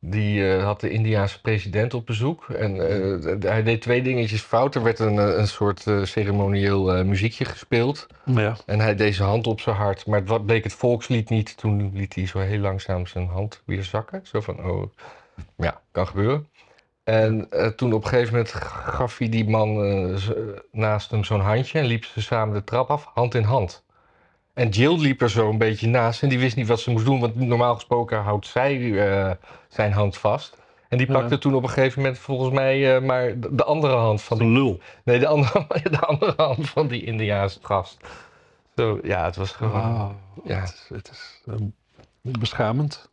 A: Die eh, had de Indiaanse president op bezoek. En eh, d- d- hij deed twee dingetjes fout. Er werd een, eh, een soort eh, ceremonieel eh, muziekje gespeeld.
B: Ja,
A: En hij deed zijn hand op zijn hart. Maar wat bleek het volkslied niet. Toen liet hij zo heel langzaam zijn hand weer zakken. Zo van, oh, ja, kan gebeuren. En eh, toen op een gegeven moment gaf hij die man eh, z- eh, naast hem zo'n handje. En liepen ze samen de trap af, hand in hand. En Jill liep er zo een beetje naast. En die wist niet wat ze moest doen. Want normaal gesproken houdt zij eh, zijn hand vast. En die
B: Ja.
A: pakte toen op een gegeven moment volgens mij eh, maar de de andere hand van die
B: een lul.
A: Nee, de andere, de andere hand van die Indiaanse gast. Zo, ja, het was gewoon.
B: Wauw,
A: Ja.
B: Het is, het is ehm, beschamend.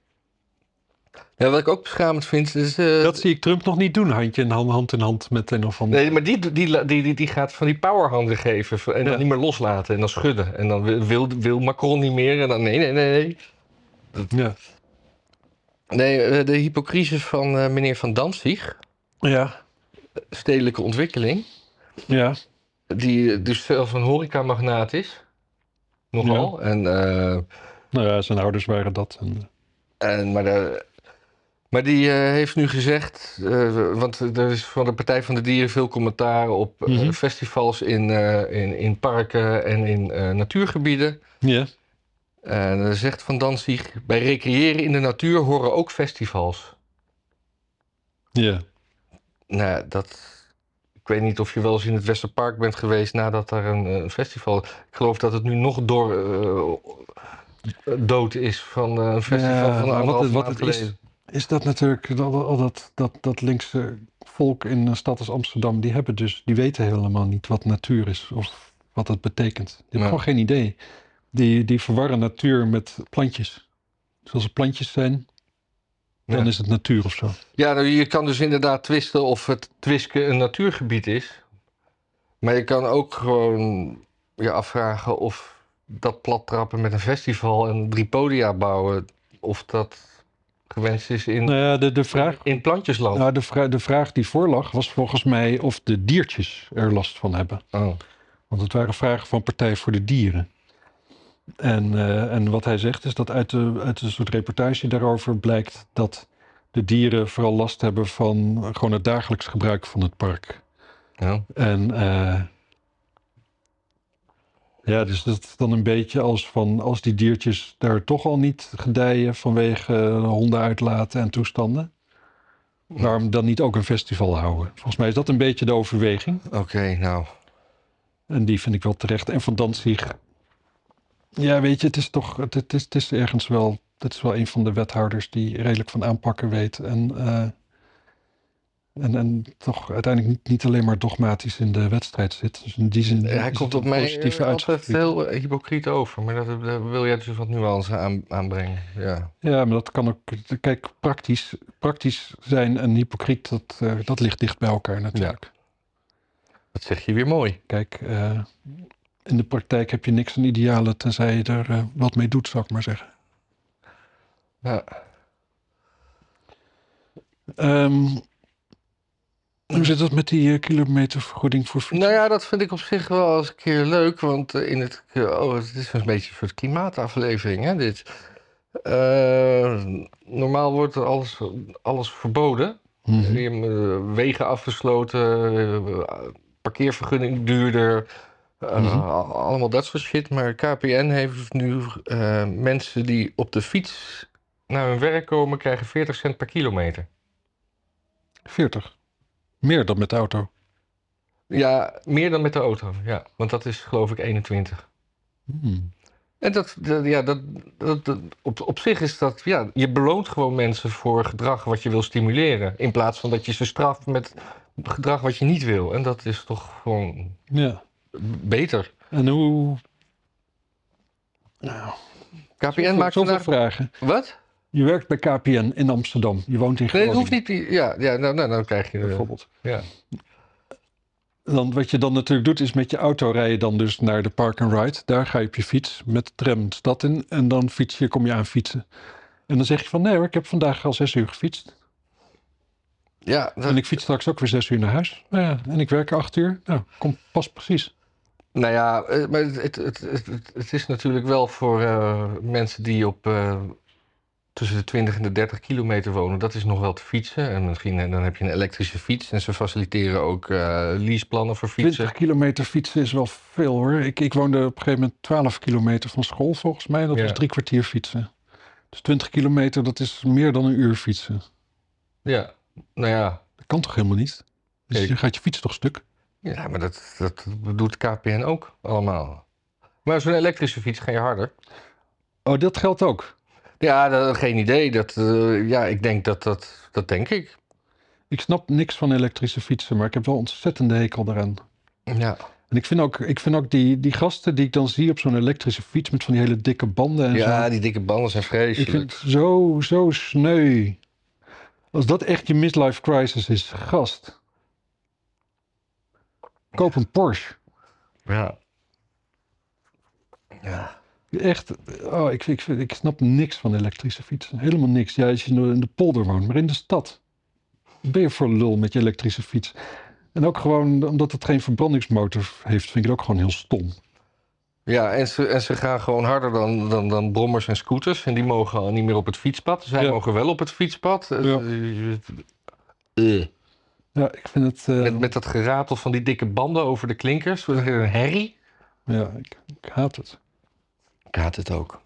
A: Ja, wat ik ook beschamend vind is. eh,
B: Dat zie ik Trump nog niet doen, handje in hand, hand in hand met een of ander.
A: Nee, maar die, die, la- die, die, die gaat van die powerhanden geven. En dan
B: Ja.
A: niet meer loslaten. En dan schudden. En dan wil- wil, wil Macron niet meer. En dan nee, nee, nee. nee.
B: Ja.
A: Nee, eh, de hypocrisie van eh, meneer Van Damstig,
B: Ja,
A: stedelijke ontwikkeling.
B: ja.
A: Die eh, dus zelf een horecamagnaat is. Nogal. En eh,
B: Nou ja, zijn ouders waren dat. En,
A: En, maar de, eh, Maar die eh, heeft nu gezegd, eh, want er is van de Partij van de Dieren veel commentaar op eh,
B: Mhm.
A: festivals in, eh, in, in parken en in eh, natuurgebieden.
B: Ja.
A: En eh, zegt Van Danzig, bij recreëren in de natuur horen ook festivals.
B: Ja.
A: Nou, dat... Ik weet niet of je wel eens in het Westerpark bent geweest nadat er een, eh, festival... Ik geloof dat het nu nog door, eh, dood is van eh, een festival
B: Ja,
A: van
B: maar wat
A: anderhalf
B: het- wat
A: maand
B: het is-
A: geleden.
B: Is dat natuurlijk, al dat, al dat, dat, dat linkse volk in een stad als Amsterdam, die hebben dus, die weten helemaal niet wat natuur is of wat dat betekent. Die hebben
A: Nee.
B: gewoon geen idee. Die, die verwarren natuur met plantjes. Zoals er plantjes zijn, dan
A: Ja.
B: is het natuur of zo.
A: Ja, nou, je kan dus inderdaad twisten of het Twisken een natuurgebied is. Maar je kan ook gewoon je afvragen of dat plattrappen met een festival en drie podia bouwen, of dat gewenst is in,
B: Nou ja, de, de vraag
A: in plantjesland.
B: Nou, de, vra- de vraag die voorlag was volgens mij of de diertjes er last van hebben.
A: Oh.
B: Want het waren vragen van Partij voor de Dieren. En, eh, en wat hij zegt is dat uit, de, uit een soort reportage daarover blijkt dat de dieren vooral last hebben van gewoon het dagelijks gebruik van het park.
A: Ja.
B: En eh, ja, dus dat is dan een beetje als van als die diertjes daar toch al niet gedijen vanwege eh, honden uitlaten en toestanden. Waarom dan niet ook een festival houden? Volgens mij is dat een beetje de overweging.
A: Oké, nou.
B: En die vind ik wel terecht. En van Danzig. Ja, weet je, het is toch. Het, het is, het is ergens wel. Het is wel een van de wethouders die redelijk van aanpakken weet. En, eh, en, en toch uiteindelijk niet, niet alleen maar dogmatisch in de wedstrijd zit. Dus in die zin. is
A: Hij
B: het
A: komt
B: een
A: op mij
B: positieve
A: eh, altijd
B: uitgangspunt.
A: heel eh, hypocriet over, maar dat, daar wil jij dus wat nuance aan, aanbrengen. Ja.
B: Ja, maar dat kan ook. Kijk, praktisch, praktisch zijn en hypocriet, dat, eh, dat ligt dicht bij elkaar natuurlijk.
A: Dat zeg je weer mooi.
B: Kijk, eh, in de praktijk heb je niks aan idealen tenzij je er eh, wat mee doet, zou ik maar zeggen.
A: Ja.
B: Ehm, hoe zit dat met die eh, kilometervergoeding voor fiets?
A: Nou ja, dat vind ik op zich wel eens een keer leuk, want eh, in het, oh, het is een beetje een soort klimaataflevering, hè, dit. Eh, normaal wordt er alles, alles verboden.
B: Mhm.
A: Je hebt, eh, Wegen afgesloten, eh, parkeervergunning duurder, eh,
B: Mhm.
A: al- allemaal dat soort shit. Maar KPN heeft nu eh, mensen die op de fiets naar hun werk komen, krijgen 40 cent per kilometer.
B: 40. Meer dan met de auto.
A: Ja, meer dan met de auto, ja. Want dat is geloof ik 21.
B: Hmm.
A: En dat, dat- ja, dat, dat, dat- op, op zich is dat, ja, je beloont gewoon mensen voor gedrag wat je wil stimuleren. In plaats van dat je ze straft met gedrag wat je niet wil. En dat is toch gewoon
B: Ja.
A: beter.
B: En hoe... Nou,
A: KPN maakt
B: zoveel
A: vandaag...
B: vragen.
A: Wat?
B: Je werkt bij KPN in Amsterdam. Je woont in
A: Nee,
B: Groningen.
A: dat hoeft niet. Ja, ja nou, nou, dan krijg je... eh,
B: Bijvoorbeeld.
A: Ja.
B: Dan, wat je dan natuurlijk doet, is met je auto rij je dan dus naar de park and ride. Daar ga je op je fiets met de tram de stad in. En dan fiets je, kom je aan fietsen. En dan zeg je van, nee hoor, ik heb vandaag al zes uur gefietst.
A: ja, dat-
B: En ik fiets straks ook weer zes uur naar huis. Nou ja, en ik werk acht uur. Nou, komt pas precies.
A: Nou ja, eh, maar het, het, het, het, het- het is natuurlijk wel voor eh, mensen die op eh, tussen de 20 en de 30 kilometer wonen, dat is nog wel te fietsen. En misschien eh, dan heb je een elektrische fiets. En ze faciliteren ook eh, leaseplannen voor fietsen.
B: 20 kilometer fietsen is wel veel hoor. Ik, ik woonde op een gegeven moment 12 kilometer van school volgens mij. Dat
A: Ja.
B: was drie kwartier fietsen. Dus 20 kilometer, dat is meer dan een uur fietsen.
A: Ja, nou ja.
B: Dat kan toch helemaal niet? Dus
A: Nee.
B: je gaat je fiets toch stuk?
A: Ja, maar dat, dat doet KPN ook allemaal. Maar zo'n elektrische fiets ga je harder.
B: Oh, dat geldt ook.
A: Ja, dat, geen idee. Dat, eh, ja, ik denk dat dat... Dat denk ik.
B: Ik snap niks van elektrische fietsen, maar ik heb wel ontzettende hekel eraan.
A: Ja.
B: En ik vind ook, ik vind ook die, die gasten die ik dan zie op zo'n elektrische fiets met van die hele dikke banden en zo.
A: ja, die dikke banden zijn
B: Ik vind
A: vreselijk.
B: het zo, zo sneu. Als dat echt je midlife crisis is, gast. Koop een Porsche.
A: Ja. Ja.
B: Echt, oh, ik, ik, ik snap niks van elektrische fietsen. Helemaal niks. Ja, als je in de polder woont, maar in de stad. Ben je voor lul met je elektrische fiets. En ook gewoon omdat het geen verbrandingsmotor heeft, vind ik het ook gewoon heel stom.
A: Ja, en ze, en ze gaan gewoon harder dan, dan, dan brommers en scooters. En die mogen al niet meer op het fietspad. Zij
B: Ja.
A: mogen wel op het fietspad. Eh,
B: Ja.
A: eh.
B: Ja, ik vind het... eh,
A: Met, met dat geratel van die dikke banden over de klinkers. Wat is het, Een herrie.
B: Ja, ik, ik haat het.
A: Ik haat het ook.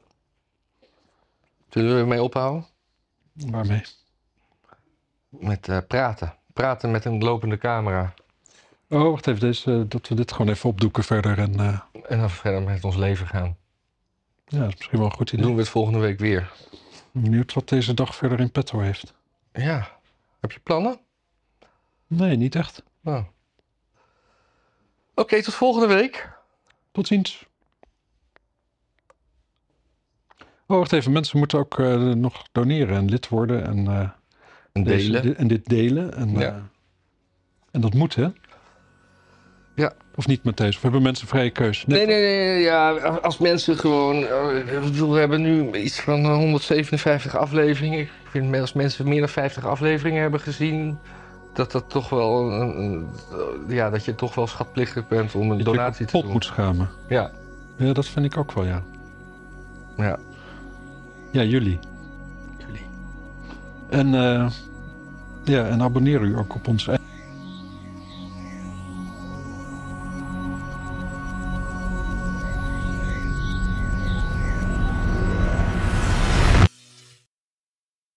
A: Zullen we ermee ophouden?
B: Waarmee?
A: Met eh, praten. Praten met een lopende camera.
B: Oh, wacht even. Deze, dat we dit gewoon even opdoeken verder. En eh,
A: En dan verder met ons leven gaan.
B: ja, dat is misschien wel een goed
A: Dan
B: idee.
A: doen we het volgende week weer.
B: Benieuwd wat deze dag verder in petto heeft.
A: Ja. Heb je plannen?
B: Nee, niet echt.
A: Nou. Oké, tot volgende week.
B: Tot ziens. Oh, wacht even. Mensen moeten ook eh, nog doneren en lid worden. En, eh,
A: En
B: deze-
A: delen.
B: di- en dit delen. En,
A: Ja.
B: eh, en dat moet, hè?
A: Ja.
B: Of niet, Matthijs? Of hebben mensen vrije keus?
A: Nee, nee, nee, nee, ja, als mensen gewoon, eh, ik bedoel, we hebben nu iets van eh, 157 afleveringen. Ik vind me- als mensen meer dan 50 afleveringen hebben gezien, dat dat toch wel, een- een- ja, dat je toch wel schatplichtig bent om een
B: Dat je
A: donatie te
B: kapot
A: doen.
B: moet schamen.
A: Ja,
B: Ja, dat vind ik ook wel, ja.
A: ja.
B: Ja, jullie.
A: Jullie.
B: En, eh, ja, en abonneer u ook op ons